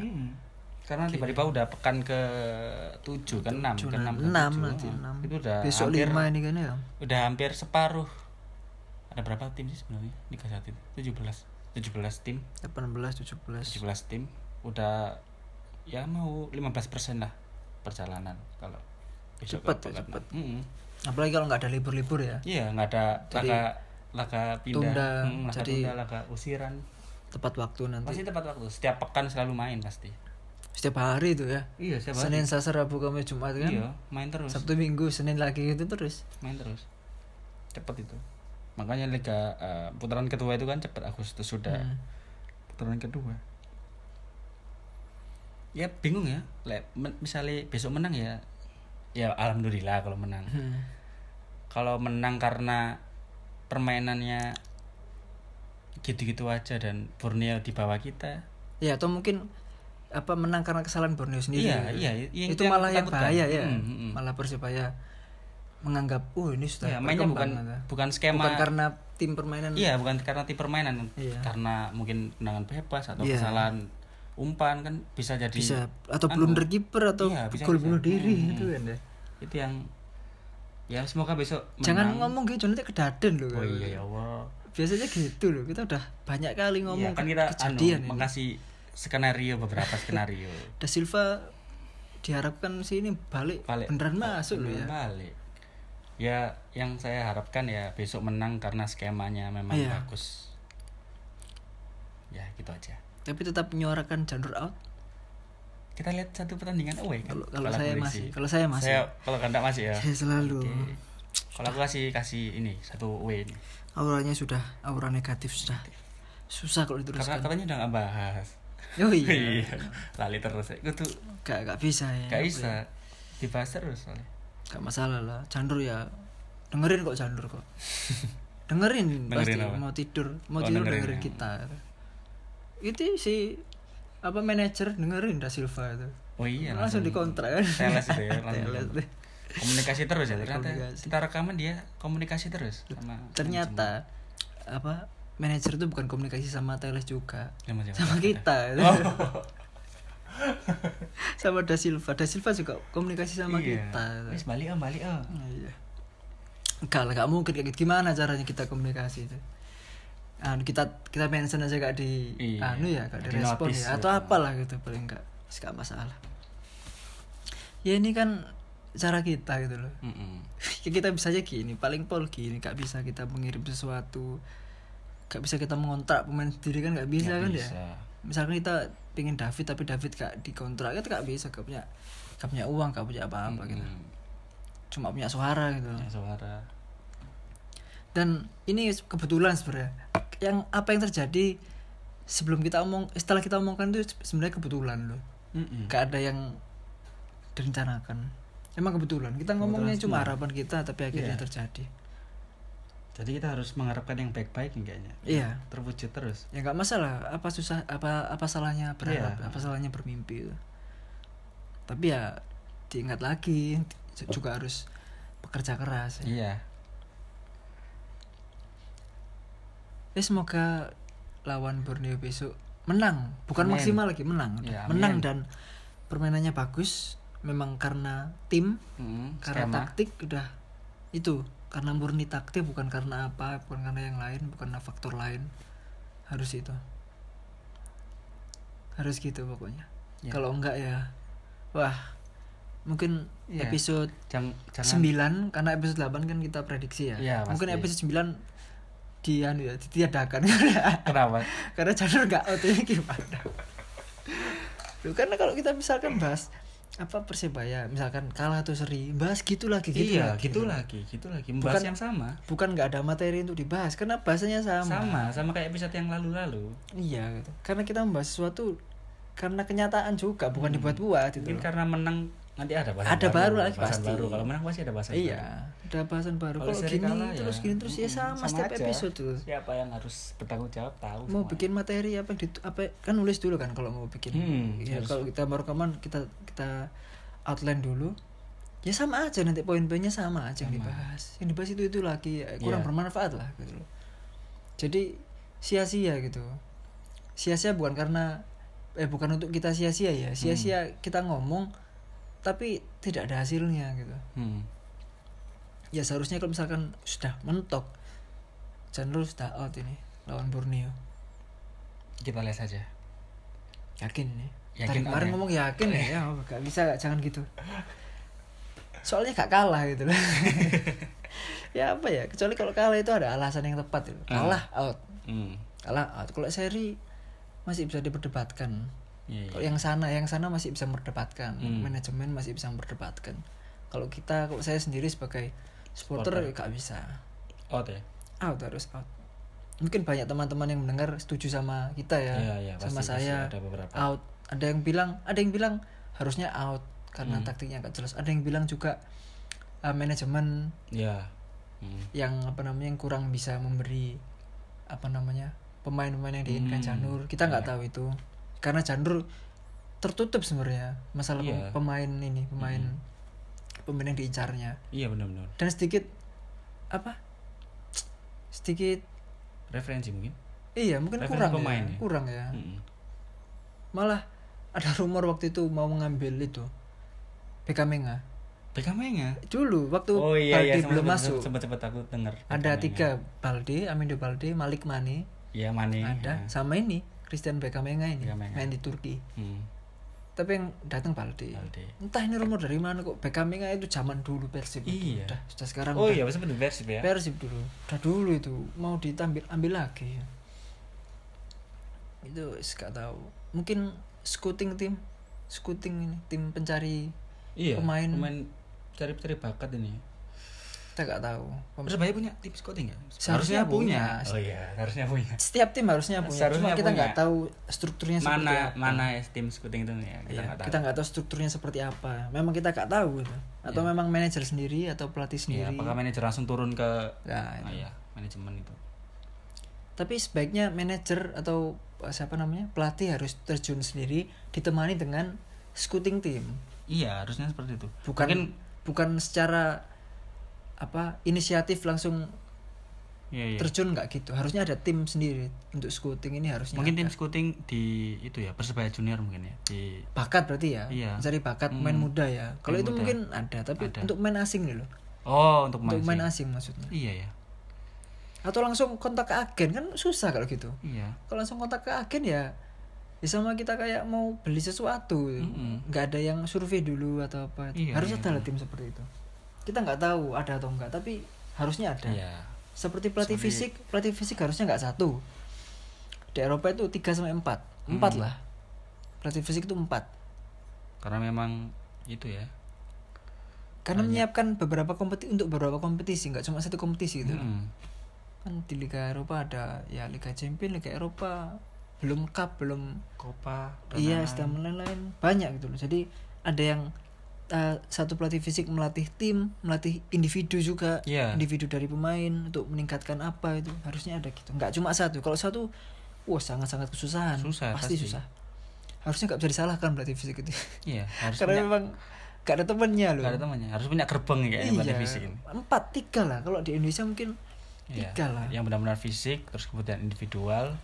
Speaker 2: karena tiba-tiba udah pekan ke tujuh ke kan enam ke
Speaker 1: Juna-
Speaker 2: enam ke
Speaker 1: enam
Speaker 2: tujuh.
Speaker 1: nanti
Speaker 2: Ah,
Speaker 1: enam
Speaker 2: itu udah
Speaker 1: besok
Speaker 2: hampir
Speaker 1: lima ini kan ya
Speaker 2: udah hampir separuh ada berapa tim sih sebenarnya Liga satu itu 17 17 tim
Speaker 1: 18 17
Speaker 2: 17 tim udah ya mau 15 lah perjalanan kalau besok
Speaker 1: Cepet
Speaker 2: ke
Speaker 1: ya,
Speaker 2: pekan
Speaker 1: cepet.
Speaker 2: enam. Mm-mm.
Speaker 1: apalagi kalau nggak ada libur-libur ya
Speaker 2: iya nggak ada
Speaker 1: Jadi,
Speaker 2: laga laga pindah
Speaker 1: tunda,
Speaker 2: Mm, laga
Speaker 1: jadi-
Speaker 2: tunda laga usiran
Speaker 1: tepat waktu nanti
Speaker 2: pasti tepat waktu setiap pekan selalu main pasti
Speaker 1: setiap hari itu ya
Speaker 2: iya setiap
Speaker 1: Senin Selasa Rabu Kamis Jumat kan
Speaker 2: iya main terus
Speaker 1: Sabtu Minggu Senin lagi gitu terus
Speaker 2: main terus cepet itu makanya liga eh, putaran kedua itu kan cepet Agustus sudah
Speaker 1: Hmm.
Speaker 2: putaran kedua ya bingung ya Le- men- misalnya besok menang ya ya alhamdulillah kalau menang
Speaker 1: Hmm.
Speaker 2: kalau menang karena permainannya gitu-gitu aja dan Borneo di bawah kita
Speaker 1: ya atau mungkin apa menang karena kesalahan Borneo sendiri
Speaker 2: Iya,
Speaker 1: gitu.
Speaker 2: iya, iya,
Speaker 1: itu
Speaker 2: yang
Speaker 1: malah yang
Speaker 2: ditakutkan.
Speaker 1: bahaya ya
Speaker 2: Hmm, hmm, hmm.
Speaker 1: malah persebaya menganggap oh ini sudah
Speaker 2: ya mainnya bukan
Speaker 1: berkembang, gitu.
Speaker 2: bukan skema
Speaker 1: bukan karena tim permainan
Speaker 2: Iya, bukan karena tim permainan,
Speaker 1: Iya.
Speaker 2: karena mungkin tendangan bebas atau
Speaker 1: Iya.
Speaker 2: kesalahan umpan kan bisa jadi
Speaker 1: bisa atau blunder kiper atau
Speaker 2: anu. Iya, bisa,
Speaker 1: gol
Speaker 2: bisa.
Speaker 1: bunuh diri
Speaker 2: Hmm,
Speaker 1: gitu kan ya.
Speaker 2: itu yang ya semoga besok
Speaker 1: jangan
Speaker 2: menang.
Speaker 1: ngomong gitu nanti kedaden loh
Speaker 2: Oh
Speaker 1: kalau
Speaker 2: iya ya
Speaker 1: gitu.
Speaker 2: Allah.
Speaker 1: biasanya gitu loh kita udah banyak kali ngomong
Speaker 2: Iya, kan kita anu,
Speaker 1: kejadian ini.
Speaker 2: mengasih skenario beberapa skenario.
Speaker 1: da Silva diharapkan sih ini balik,
Speaker 2: Balik.
Speaker 1: beneran masuk loh
Speaker 2: Beneran
Speaker 1: ya
Speaker 2: Balik. Ya, yang saya harapkan ya besok menang karena skemanya memang
Speaker 1: Iya.
Speaker 2: bagus. Ya, gitu aja.
Speaker 1: tapi tetap menyuarakan janur out
Speaker 2: Kita lihat satu pertandingan away kan.
Speaker 1: Kalau- kalau saya
Speaker 2: aku
Speaker 1: masih-
Speaker 2: isi.
Speaker 1: kalau saya masih.
Speaker 2: Saya kalau kanda masih ya.
Speaker 1: saya selalu
Speaker 2: Oke. Kalau aku kasih kasih ini satu away ini.
Speaker 1: auranya sudah aura negatif sudah susah kalau
Speaker 2: Karena
Speaker 1: diteruskan
Speaker 2: katanya udah nggak bahas.
Speaker 1: oh iya
Speaker 2: Lali terus. Itu tuh
Speaker 1: gak, gak bisa ya
Speaker 2: nggak bisa dibahas terus soalnya.
Speaker 1: gak masalah lah Jandur ya dengerin kok Jandur kok dengerin, pasti
Speaker 2: Dengerin apa?
Speaker 1: mau tidur mau
Speaker 2: Oh,
Speaker 1: tidur dengerin,
Speaker 2: dengerin.
Speaker 1: kita itu si apa manajer dengerin da Silva itu
Speaker 2: Oh iya
Speaker 1: langsung dikontrak
Speaker 2: Teles itu ya, langsung
Speaker 1: Teles
Speaker 2: dikontrak. komunikasi terus ya ternyata
Speaker 1: Komunikasi.
Speaker 2: kita rekaman dia komunikasi terus sama
Speaker 1: ternyata apa manajer itu bukan komunikasi sama Teles juga
Speaker 2: Sama siapa?
Speaker 1: sama kita
Speaker 2: Oh.
Speaker 1: sama da Silva da Silva juga komunikasi sama
Speaker 2: Iya.
Speaker 1: kita
Speaker 2: Wis balik oh balik oh.
Speaker 1: Iya. Enggak lah, enggak mungkin kayak gitu. Gimana caranya kita komunikasi itu? Anu, kita kita mention aja gak di
Speaker 2: Iya.
Speaker 1: anu ya, gak di
Speaker 2: Di
Speaker 1: respon
Speaker 2: notice
Speaker 1: ya atau
Speaker 2: gitu.
Speaker 1: apalah gitu paling enggak. Enggak masalah. Ya ini kan cara kita gitu loh.
Speaker 2: Mm-mm.
Speaker 1: Ya, kita bisa aja gini, paling pol gini, gak bisa kita mengirim sesuatu. Gak bisa kita mengontrak pemain sendiri kan gak bisa
Speaker 2: Nggak
Speaker 1: kan ya
Speaker 2: bisa.
Speaker 1: misalkan kita pingin David tapi David gak dikontrak kita gak bisa gak punya gak punya uang gak punya apa-apa gitu
Speaker 2: Mm,
Speaker 1: cuma punya suara gitu
Speaker 2: punya suara.
Speaker 1: dan ini kebetulan sebenarnya yang apa yang terjadi sebelum kita omong setelah kita omongkan itu sebenarnya kebetulan loh
Speaker 2: Mm-mm.
Speaker 1: gak ada yang direncanakan emang kebetulan kita ngomongnya
Speaker 2: Kebetulan
Speaker 1: cuma
Speaker 2: semua.
Speaker 1: harapan kita tapi akhirnya
Speaker 2: Iya.
Speaker 1: terjadi
Speaker 2: Jadi kita harus mengharapkan yang baik-baik nih kayaknya.
Speaker 1: iya
Speaker 2: Terwujud terus.
Speaker 1: ya nggak masalah apa susah apa apa salahnya berharap
Speaker 2: Iya.
Speaker 1: apa salahnya bermimpi gitu. tapi ya diingat lagi juga harus bekerja keras ya.
Speaker 2: Iya.
Speaker 1: Eh, semoga lawan Borneo besok menang bukan
Speaker 2: Amin.
Speaker 1: maksimal lagi menang
Speaker 2: Ya, amin.
Speaker 1: menang dan permainannya bagus memang karena tim
Speaker 2: Mm,
Speaker 1: karena
Speaker 2: skema.
Speaker 1: taktik udah itu karena murni taktik bukan karena apa bukan karena yang lain bukan karena faktor lain harus itu harus gitu pokoknya
Speaker 2: Ya.
Speaker 1: kalau enggak ya wah mungkin
Speaker 2: Ya.
Speaker 1: episode
Speaker 2: Jang- jangan
Speaker 1: 9 karena episode 8 kan kita prediksi ya,
Speaker 2: Ya,
Speaker 1: mungkin
Speaker 2: pasti.
Speaker 1: episode 9 di anu ya ditiadakan
Speaker 2: kenapa?
Speaker 1: karena jalur nggak out ini gimana Loh, karena kalau kita misalkan bahas apa persebaya misalkan kalah atau seri bahas gitu lagi gitu
Speaker 2: iya,
Speaker 1: lagi, gitu.
Speaker 2: gitu lagi, gitu lagi. Membahas
Speaker 1: Bukan-
Speaker 2: yang sama.
Speaker 1: bukan nggak ada materi untuk dibahas karena bahasanya sama,
Speaker 2: Sama, sama kayak episode yang lalu-lalu.
Speaker 1: iya gitu karena kita membahas sesuatu karena kenyataan juga bukan dibuat-buat itu
Speaker 2: Hmm. mungkin karena menang nanti ada bahasan
Speaker 1: Gitu. Ada baru lagi
Speaker 2: bahasan
Speaker 1: pasti.
Speaker 2: baru kalau menang pasti ada bahasan baru.
Speaker 1: iya ada bahasan baru
Speaker 2: Kalau
Speaker 1: kalau
Speaker 2: seri
Speaker 1: gini
Speaker 2: kalah ya,
Speaker 1: terus gini terus ya sama,
Speaker 2: Sama
Speaker 1: setiap
Speaker 2: aja.
Speaker 1: episode tuh
Speaker 2: siapa yang harus bertanggung jawab tahu
Speaker 1: mau
Speaker 2: semua.
Speaker 1: bikin materi apa yang ditu- apa kan nulis dulu kan kalau mau bikin
Speaker 2: Hmm,
Speaker 1: ya
Speaker 2: harus.
Speaker 1: kalau kita mau rekaman kita kita outline dulu ya sama aja nanti poin-poinnya sama aja yang dibahas yang dibahas itu itu lagi ya, kurang
Speaker 2: Iya.
Speaker 1: bermanfaat lah gitu loh jadi sia-sia gitu sia-sia bukan karena eh bukan untuk kita sia-sia ya
Speaker 2: Hmm.
Speaker 1: sia-sia kita ngomong tapi tidak ada hasilnya gitu
Speaker 2: Hmm.
Speaker 1: ya seharusnya kalau misalkan sudah mentok Chandler sudah out ini lawan Borneo
Speaker 2: kita lihat saja
Speaker 1: yakin nih
Speaker 2: Yakin Iya.
Speaker 1: Tadi kemarin
Speaker 2: apa?
Speaker 1: ngomong yakin ya ya apa, gak bisa gak, jangan gitu soalnya gak kalah gitu loh ya apa ya kecuali kalau kalah itu ada alasan yang tepat gitu.
Speaker 2: Ah.
Speaker 1: kalah out
Speaker 2: hmm.
Speaker 1: kalah out kalau seri masih bisa diperdebatkan
Speaker 2: Iya, iya.
Speaker 1: kalau yang sana yang sana masih bisa memperdebatkan
Speaker 2: Hmm.
Speaker 1: manajemen masih bisa memperdebatkan kalau kita kalau saya sendiri sebagai supporter
Speaker 2: Supporter.
Speaker 1: gak bisa
Speaker 2: out ya
Speaker 1: out harus out mungkin banyak teman-teman yang mendengar setuju sama kita ya
Speaker 2: Iya, iya,
Speaker 1: sama
Speaker 2: pasti, pasti
Speaker 1: saya
Speaker 2: ada beberapa.
Speaker 1: out ada yang bilang ada yang bilang harusnya out karena
Speaker 2: Hmm.
Speaker 1: taktiknya nggak jelas ada yang bilang juga eh, manajemen
Speaker 2: ya hmm.
Speaker 1: yang apa namanya yang kurang bisa memberi apa namanya pemain-pemain yang diinginkan
Speaker 2: Hmm,
Speaker 1: Janur kita nggak tahu itu karena Janur tertutup sebenarnya masalah pem-
Speaker 2: Iya. Hmm.
Speaker 1: pemain ini pemain pemain yang diincarnya
Speaker 2: iya benar-benar
Speaker 1: dan sedikit apa sedikit
Speaker 2: referensi mungkin
Speaker 1: Iya mungkin
Speaker 2: Referensi
Speaker 1: kurang
Speaker 2: pemain
Speaker 1: ya,
Speaker 2: ya?
Speaker 1: kurang ya.
Speaker 2: Mm-mm.
Speaker 1: Malah ada rumor waktu itu mau mengambil itu Bekamenga.
Speaker 2: Bekamenga
Speaker 1: Dulu waktu
Speaker 2: oh iya
Speaker 1: Balde
Speaker 2: iya
Speaker 1: belum masuk
Speaker 2: sempat sempat aku dengar
Speaker 1: ada
Speaker 2: Bekamenga.
Speaker 1: tiga Balde, Amindo Balde, Malik Mane
Speaker 2: iya Mane
Speaker 1: ada
Speaker 2: ya.
Speaker 1: sama ini Christian Bekamenga ini
Speaker 2: Bekamenga.
Speaker 1: main di Turki.
Speaker 2: hmm.
Speaker 1: Tapi yang datang Balde.
Speaker 2: Balde.
Speaker 1: Entah ini rumor dari mana kok Bekamenga itu zaman dulu Persib. itu.
Speaker 2: Iya.
Speaker 1: Udah, sudah sekarang
Speaker 2: oh
Speaker 1: udah
Speaker 2: iya sempat di Persib ya
Speaker 1: Persib dulu. Udah dulu itu mau ditambil ambil lagi. ya. Itu wis gak tahu. Mungkin scouting tim, scouting ini tim pencari
Speaker 2: iya
Speaker 1: pemain.
Speaker 2: cari cari bakat ini
Speaker 1: kita gak tahu. Pem-
Speaker 2: Persebaya punya tim scouting ya
Speaker 1: Seharusnya punya.
Speaker 2: oh iya harusnya punya
Speaker 1: Setiap tim harusnya punya. Cuma
Speaker 2: Seharusnya
Speaker 1: kita
Speaker 2: punya.
Speaker 1: nggak tahu strukturnya seperti
Speaker 2: mana
Speaker 1: apa.
Speaker 2: mana ya tim scouting itu ya kita
Speaker 1: Iya,
Speaker 2: nggak
Speaker 1: kita
Speaker 2: tahu
Speaker 1: nggak tahu strukturnya seperti apa. Memang kita nggak tahu gitu. Atau memang manajer sendiri atau pelatih
Speaker 2: Iya,
Speaker 1: sendiri.
Speaker 2: apakah manajer langsung turun ke
Speaker 1: Nah,
Speaker 2: ah,
Speaker 1: itu.
Speaker 2: iya manajemen itu
Speaker 1: Tapi sebaiknya manajer atau eh, siapa namanya pelatih harus terjun sendiri ditemani dengan scouting tim.
Speaker 2: iya harusnya seperti itu
Speaker 1: bukan
Speaker 2: Mungkin-
Speaker 1: bukan secara apa inisiatif langsung
Speaker 2: iya, iya.
Speaker 1: terjun nggak gitu harusnya ada tim sendiri untuk scouting ini harusnya
Speaker 2: mungkin tim
Speaker 1: ada.
Speaker 2: scouting di itu ya persebaya junior mungkin ya di
Speaker 1: bakat berarti ya
Speaker 2: Iya.
Speaker 1: mencari bakat main muda ya kalau itu
Speaker 2: muda.
Speaker 1: mungkin ada tapi
Speaker 2: Ada.
Speaker 1: untuk main asing nih loh
Speaker 2: oh untuk
Speaker 1: untuk
Speaker 2: main
Speaker 1: main asing maksudnya
Speaker 2: iya ya
Speaker 1: atau langsung kontak ke agen kan susah kalau gitu
Speaker 2: iya
Speaker 1: kalau langsung kontak ke agen ya ya sama kita kayak mau beli sesuatu gitu.
Speaker 2: Mm-mm.
Speaker 1: nggak ada yang survei dulu atau apa
Speaker 2: Hmm. Iya,
Speaker 1: harus
Speaker 2: iya,
Speaker 1: ada lah tim seperti itu kita nggak tahu ada atau enggak tapi harusnya ada
Speaker 2: iya
Speaker 1: seperti pelatih fisik pelatih fisik harusnya nggak satu di Eropa itu 3 sampai empat empat lah pelatih fisik itu empat
Speaker 2: karena memang itu ya
Speaker 1: karena menyiapkan beberapa kompetisi untuk beberapa kompetisi nggak cuma satu kompetisi gitu
Speaker 2: Mm.
Speaker 1: kan di Liga Eropa ada ya Liga Champions Liga Eropa belum cup belum
Speaker 2: Copa dan
Speaker 1: iya
Speaker 2: lain-lain.
Speaker 1: sedang lain-lain banyak gitu loh jadi ada yang eh, satu pelatih fisik melatih tim melatih individu juga
Speaker 2: Iya.
Speaker 1: individu dari pemain untuk meningkatkan apa itu harusnya ada gitu nggak cuma satu kalau satu wah sangat-sangat kesusahan
Speaker 2: Susah,
Speaker 1: pasti,
Speaker 2: pasti.
Speaker 1: susah harusnya nggak bisa disalahkan pelatih fisik itu
Speaker 2: iya harus
Speaker 1: karena
Speaker 2: punya
Speaker 1: memang nggak ada temennya loh
Speaker 2: nggak ada temannya harus punya gerbeng ya kayaknya
Speaker 1: Iya,
Speaker 2: pelatih fisik ini
Speaker 1: empat tiga lah kalau di Indonesia mungkin
Speaker 2: Iya.
Speaker 1: tiga lah
Speaker 2: yang benar-benar fisik terus kemudian individual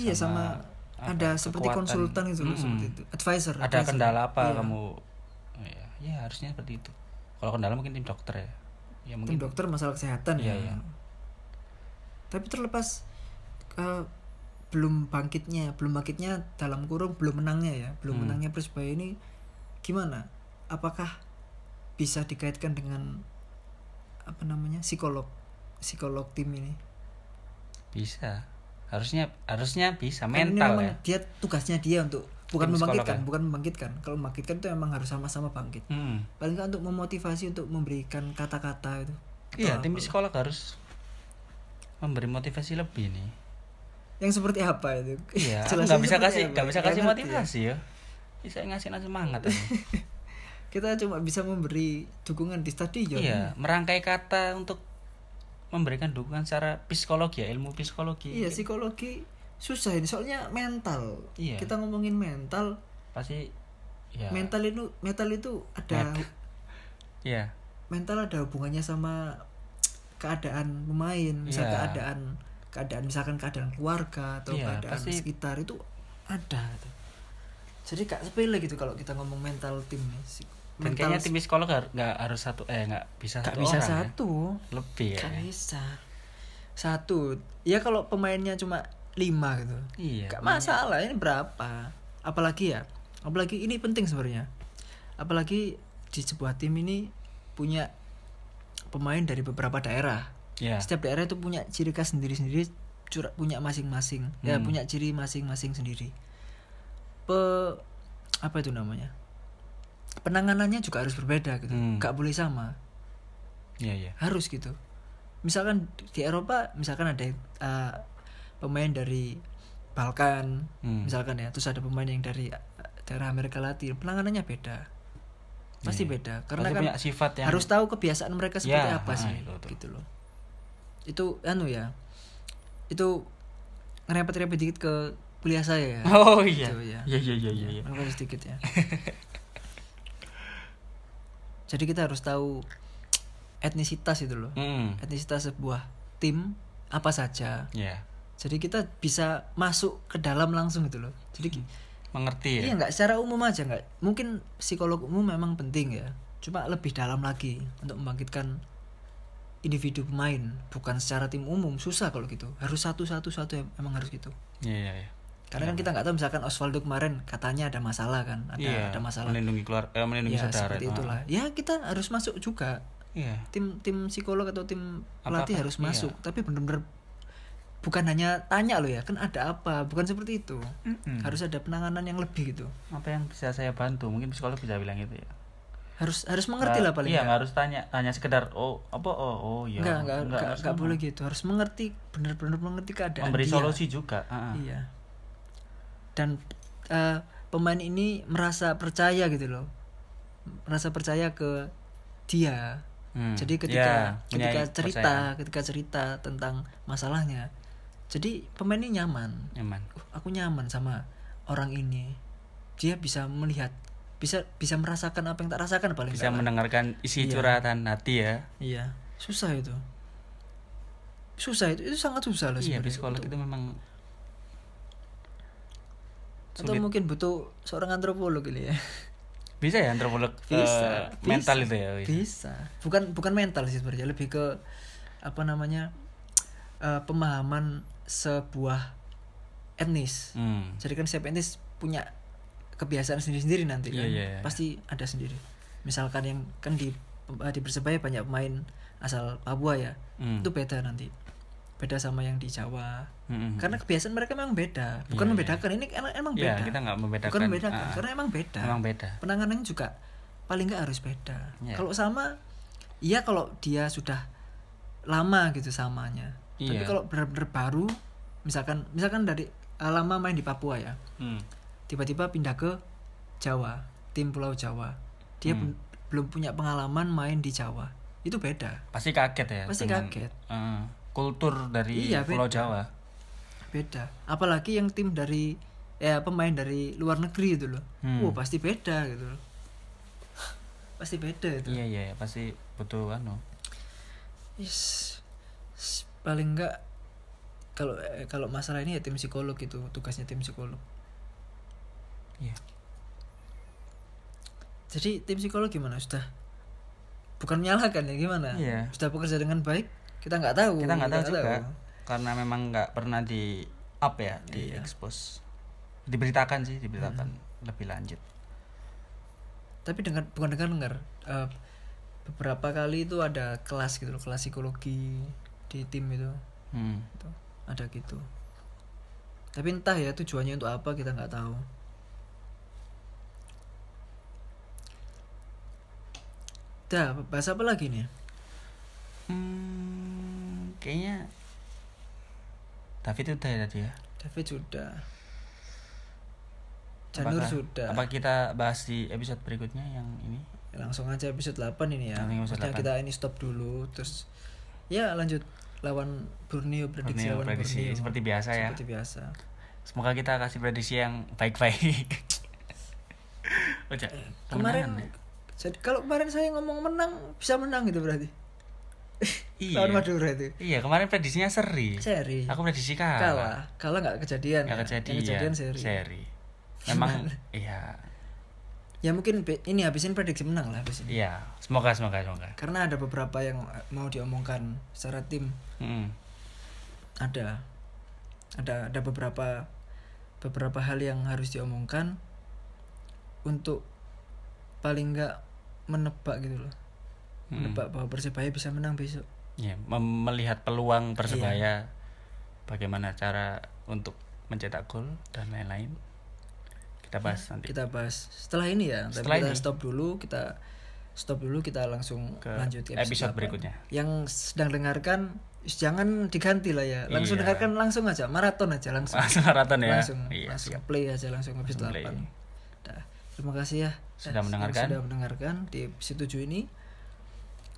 Speaker 1: iya sama,
Speaker 2: apa,
Speaker 1: ada seperti
Speaker 2: kekuatan.
Speaker 1: konsultan itu loh,
Speaker 2: Mm-mm.
Speaker 1: seperti itu advisor
Speaker 2: ada
Speaker 1: advisor.
Speaker 2: kendala apa
Speaker 1: Iya.
Speaker 2: kamu ya, ya harusnya seperti itu kalau kendala mungkin tim dokter ya ya
Speaker 1: tim
Speaker 2: mungkin
Speaker 1: dokter masalah kesehatan ya.
Speaker 2: Iya, iya.
Speaker 1: Tapi terlepas eh, belum bangkitnya, belum bangkitnya dalam kurung belum menangnya ya,
Speaker 2: Hmm.
Speaker 1: belum menangnya Persebaya ini gimana? Apakah bisa dikaitkan dengan apa namanya psikolog psikolog tim ini?
Speaker 2: bisa harusnya harusnya bisa
Speaker 1: Karena ini
Speaker 2: mental
Speaker 1: memang
Speaker 2: ya
Speaker 1: Dia tugasnya dia untuk bukan
Speaker 2: Tim psikolog ya?
Speaker 1: membangkitkan, bukan membangkitkan. Kalau membangkitkan itu memang harus sama-sama bangkit.
Speaker 2: Hmm.
Speaker 1: Paling nggak untuk memotivasi untuk memberikan kata-kata itu.
Speaker 2: Iya, tim psikolog harus memberi motivasi lebih nih.
Speaker 1: yang seperti apa itu
Speaker 2: Iya, aku
Speaker 1: Jelasin
Speaker 2: nggak bisa
Speaker 1: seperti
Speaker 2: kasih
Speaker 1: apa,
Speaker 2: nggak bisa
Speaker 1: nggak ngerti
Speaker 2: kasih
Speaker 1: ya.
Speaker 2: motivasi ya. Bisa ngasih ngasih semangat. aja.
Speaker 1: kita cuma bisa memberi dukungan di stadion
Speaker 2: iya, merangkai kata untuk memberikan dukungan secara psikologi ya, ilmu psikologi.
Speaker 1: Iya, psikologi susah ini soalnya mental
Speaker 2: Iya.
Speaker 1: kita ngomongin mental
Speaker 2: Pasti ya.
Speaker 1: mental itu mental itu ada
Speaker 2: Iya.
Speaker 1: mental ada hubungannya sama keadaan pemain misal
Speaker 2: Iya.
Speaker 1: keadaan keadaan misalkan keadaan keluarga atau
Speaker 2: Iya,
Speaker 1: keadaan
Speaker 2: pasti-
Speaker 1: sekitar itu ada gitu. jadi gak sepele gitu kalau kita ngomong mental tim nih. Si-
Speaker 2: Dan kayaknya tim psikolog har- nggak harus satu eh nggak bisa
Speaker 1: gak
Speaker 2: satu
Speaker 1: bisa
Speaker 2: orang ya.
Speaker 1: satu
Speaker 2: Lebih ya.
Speaker 1: gak bisa Iya, satu ya kalau pemainnya cuma lima gitu
Speaker 2: Iya.
Speaker 1: Gak masalah ini berapa apalagi ya apalagi ini penting sebenarnya apalagi di sebuah tim ini punya pemain dari beberapa daerah
Speaker 2: Iya.
Speaker 1: setiap daerah itu punya ciri khas sendiri-sendiri cura- punya masing-masing ya
Speaker 2: Hmm.
Speaker 1: punya ciri masing-masing sendiri pe apa itu namanya penanganannya juga harus berbeda gitu
Speaker 2: Hmm.
Speaker 1: gak boleh sama
Speaker 2: Iya, iya.
Speaker 1: harus gitu misalkan di Eropa misalkan ada eh, pemain dari Balkan
Speaker 2: Hmm.
Speaker 1: misalkan ya terus ada pemain yang dari eh, daerah Amerika Latin penanganannya beda pasti
Speaker 2: Iya.
Speaker 1: beda karena
Speaker 2: Pasti
Speaker 1: kan
Speaker 2: punya sifat yang
Speaker 1: harus tahu kebiasaan mereka seperti
Speaker 2: Ya,
Speaker 1: apa
Speaker 2: ah,
Speaker 1: sih
Speaker 2: itu tuh.
Speaker 1: gitu loh itu anu ya itu ngerepet-repet dikit ke kuliah saya ya
Speaker 2: Oh iya.
Speaker 1: Gitu, ya.
Speaker 2: Iya, iya, iya, iya, iya.
Speaker 1: Mereka sedikit ya. Jadi kita harus tahu etnisitas itu loh.
Speaker 2: Mm.
Speaker 1: Etnisitas sebuah tim apa saja.
Speaker 2: Iya.
Speaker 1: Jadi kita bisa masuk ke dalam langsung gitu loh. Jadi ki-
Speaker 2: Mengerti ya.
Speaker 1: iya nggak secara umum aja nggak. Mungkin psikolog umum memang penting ya. Cuma lebih dalam lagi untuk membangkitkan individu pemain bukan secara tim umum susah kalau gitu harus satu satu satu em- emang harus gitu
Speaker 2: Iya, iya, iya.
Speaker 1: karena kan kita nggak tahu misalkan Osvaldo kemarin katanya ada masalah kan ada
Speaker 2: Iya,
Speaker 1: ada masalah
Speaker 2: melindungi keluar eh, melindungi
Speaker 1: ya
Speaker 2: saudara.
Speaker 1: seperti
Speaker 2: ah.
Speaker 1: itulah ya kita harus masuk juga
Speaker 2: Iya.
Speaker 1: tim tim psikolog atau tim pelatih
Speaker 2: Apakah-
Speaker 1: harus masuk tapi benar-benar bukan hanya tanya loh ya kan ada apa bukan seperti itu harus ada penanganan yang lebih gitu
Speaker 2: Apa yang bisa saya bantu? Mungkin psikolog bisa bilang itu ya.
Speaker 1: harus harus mengerti lah paling
Speaker 2: Iya,
Speaker 1: nggak.
Speaker 2: nggak harus tanya, hanya sekedar oh, apa oh, oh iya.
Speaker 1: nggak nggak
Speaker 2: Nggak,
Speaker 1: nggak-
Speaker 2: harus
Speaker 1: nggak
Speaker 2: sama.
Speaker 1: boleh gitu harus mengerti benar-benar mengerti keadaan
Speaker 2: Memberi
Speaker 1: dia.
Speaker 2: solusi juga. ah, ah.
Speaker 1: iya dan eh, pemain ini merasa percaya gitu loh merasa percaya ke dia
Speaker 2: Hmm.
Speaker 1: Jadi
Speaker 2: Ya,
Speaker 1: ketika
Speaker 2: punya
Speaker 1: ketika cerita,
Speaker 2: kepercayaan.
Speaker 1: ketika cerita tentang masalahnya, jadi pemain ini nyaman.
Speaker 2: nyaman.
Speaker 1: Uh, aku nyaman sama orang ini. Dia bisa melihat, bisa bisa merasakan apa yang tak rasakan paling
Speaker 2: Bisa
Speaker 1: nggak lah.
Speaker 2: mendengarkan isi
Speaker 1: Iya.
Speaker 2: curhatan hati ya.
Speaker 1: Iya, susah itu. Susah itu, itu sangat susah loh
Speaker 2: Iya,
Speaker 1: sebenarnya
Speaker 2: psikolog
Speaker 1: untuk-
Speaker 2: itu memang
Speaker 1: Atau mungkin butuh seorang antropolog ini ya.
Speaker 2: bisa ya antropolog
Speaker 1: Bisa,
Speaker 2: eh,
Speaker 1: bisa.
Speaker 2: mental itu ya. bisa.
Speaker 1: Bisa. Bukan bukan mental sih sebenarnya, lebih ke apa namanya? eh, pemahaman sebuah etnis.
Speaker 2: Hmm.
Speaker 1: jadi kan setiap etnis punya kebiasaan sendiri-sendiri nanti kan
Speaker 2: Iya, iya, iya.
Speaker 1: pasti ada sendiri misalkan yang kan di di persebaya banyak pemain asal Papua ya
Speaker 2: Hmm.
Speaker 1: itu beda nanti beda sama yang di Jawa
Speaker 2: Mm-mm.
Speaker 1: karena kebiasaan mereka memang beda bukan
Speaker 2: Iya, iya.
Speaker 1: membedakan ini emang, emang
Speaker 2: hmm. Iya,
Speaker 1: beda
Speaker 2: kita nggak membedakan.
Speaker 1: bukan membedakan
Speaker 2: Ah, ah.
Speaker 1: karena emang beda
Speaker 2: Emang beda.
Speaker 1: penanganannya juga paling nggak harus beda
Speaker 2: Iya.
Speaker 1: kalau sama iya kalau dia sudah lama gitu samanya tapi
Speaker 2: Iya.
Speaker 1: kalau benar-benar baru misalkan misalkan dari eh, lama main di Papua ya
Speaker 2: Hmm.
Speaker 1: tiba-tiba pindah ke Jawa, tim Pulau Jawa. Dia
Speaker 2: Hmm.
Speaker 1: bel- belum punya pengalaman main di Jawa. Itu beda,
Speaker 2: Pasti kaget ya.
Speaker 1: Pasti
Speaker 2: dengan,
Speaker 1: kaget.
Speaker 2: eh, kultur dari
Speaker 1: Iya,
Speaker 2: Pulau
Speaker 1: beda.
Speaker 2: Jawa.
Speaker 1: beda. Apalagi yang tim dari ya pemain dari luar negeri itu loh.
Speaker 2: Hmm.
Speaker 1: Wah, pasti beda gitu loh. pasti beda itu.
Speaker 2: Iya iya pasti butuh anu.
Speaker 1: Yes. S- Paling enggak kalau eh, kalau masalah ini ya tim psikolog itu tugasnya tim psikolog.
Speaker 2: Iya.
Speaker 1: Jadi tim psikolog gimana sudah? Bukan menyalahkan ya gimana?
Speaker 2: Iya.
Speaker 1: Sudah bekerja dengan baik? Kita Hmm, nggak tahu.
Speaker 2: Kita nggak tahu juga karena memang nggak pernah di up ya di
Speaker 1: Iya. Hmm.
Speaker 2: expose. Diberitakan sih diberitakan lebih lanjut.
Speaker 1: Tapi dengar bukan dengar dengar eh, beberapa kali itu ada kelas gitu loh, kelas psikologi di tim itu.
Speaker 2: Hmm.
Speaker 1: Gitu. Ada gitu. Tapi entah ya tujuannya untuk apa kita nggak tahu. Dah, bahas apa lagi nih?
Speaker 2: Hmm, kayaknya David udah ya tadi ya.
Speaker 1: David sudah. Janur
Speaker 2: Apakah-
Speaker 1: sudah.
Speaker 2: Apa kita bahas di episode berikutnya yang ini?
Speaker 1: Langsung aja episode 8 ini ya.
Speaker 2: Langsung episode
Speaker 1: Maksudnya
Speaker 2: 8.
Speaker 1: kita ini stop dulu terus ya lanjut lawan Borneo prediksi
Speaker 2: Borneo,
Speaker 1: lawan
Speaker 2: Anu, prediksi.
Speaker 1: Borneo.
Speaker 2: Seperti biasa ya.
Speaker 1: Seperti biasa.
Speaker 2: Semoga kita kasih prediksi yang baik-baik. Oja,
Speaker 1: Eh, Kemarin
Speaker 2: kemenangan ya?
Speaker 1: jadi kalau kemarin saya ngomong menang bisa menang gitu berarti.
Speaker 2: Iya.
Speaker 1: Lawan Madura itu.
Speaker 2: Iya, kemarin prediksinya seri.
Speaker 1: Seri.
Speaker 2: Aku prediksi kalah.
Speaker 1: Iya. kalah. Kalah nggak kejadian.
Speaker 2: Nggak
Speaker 1: ya.
Speaker 2: kejadian.
Speaker 1: Yang kejadian seri.
Speaker 2: Memang iya.
Speaker 1: Ya mungkin be- ini habisin prediksi menang lah habis ini.
Speaker 2: Iya, semoga semoga semoga.
Speaker 1: Karena ada beberapa yang eh, mau diomongkan secara tim.
Speaker 2: Mm.
Speaker 1: ada ada ada beberapa beberapa hal yang harus diomongkan untuk paling nggak menebak gitu loh menebak bahwa persebaya bisa menang besok
Speaker 2: Hmm. Iya, mem- melihat
Speaker 1: Iya.
Speaker 2: peluang persebaya, bagaimana cara untuk mencetak gol dan lain-lain. Kita bahas
Speaker 1: Iya,
Speaker 2: nanti.
Speaker 1: kita bahas setelah ini ya tapi
Speaker 2: Setelah
Speaker 1: kita
Speaker 2: ini.
Speaker 1: stop dulu kita stop dulu kita langsung
Speaker 2: Ke
Speaker 1: lanjut ke
Speaker 2: episode
Speaker 1: 8.
Speaker 2: berikutnya.
Speaker 1: yang sedang dengarkan jangan diganti lah ya langsung
Speaker 2: Iya.
Speaker 1: dengarkan langsung aja maraton aja langsung
Speaker 2: Langsung maraton ya.
Speaker 1: langsung
Speaker 2: Iya,
Speaker 1: langsung
Speaker 2: siap.
Speaker 1: play aja langsung habis
Speaker 2: Langsung play.
Speaker 1: 8 Dah. terima kasih ya
Speaker 2: Sudah
Speaker 1: Eh,
Speaker 2: mendengarkan.
Speaker 1: sudah mendengarkan di episode 7 ini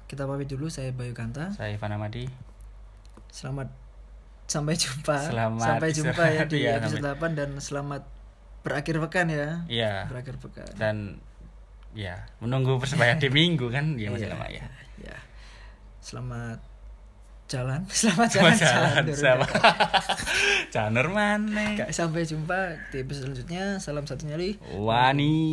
Speaker 1: kita pamit dulu saya Bayu Kanta
Speaker 2: Saya Ivan Amadi.
Speaker 1: selamat sampai jumpa
Speaker 2: Selamat
Speaker 1: sampai jumpa ya
Speaker 2: istirahat,
Speaker 1: di
Speaker 2: iya,
Speaker 1: episode 8 dan selamat berakhir pekan ya
Speaker 2: Iya.
Speaker 1: berakhir pekan
Speaker 2: Dan ya, menunggu persebaya di minggu kan ya masih lama ya.
Speaker 1: ya selamat jalan selamat
Speaker 2: Sama
Speaker 1: jalan,
Speaker 2: jalan
Speaker 1: jalan.
Speaker 2: sama. Janur maneh.
Speaker 1: Oke, sampai jumpa di episode selanjutnya salam satu nyali
Speaker 2: Wani.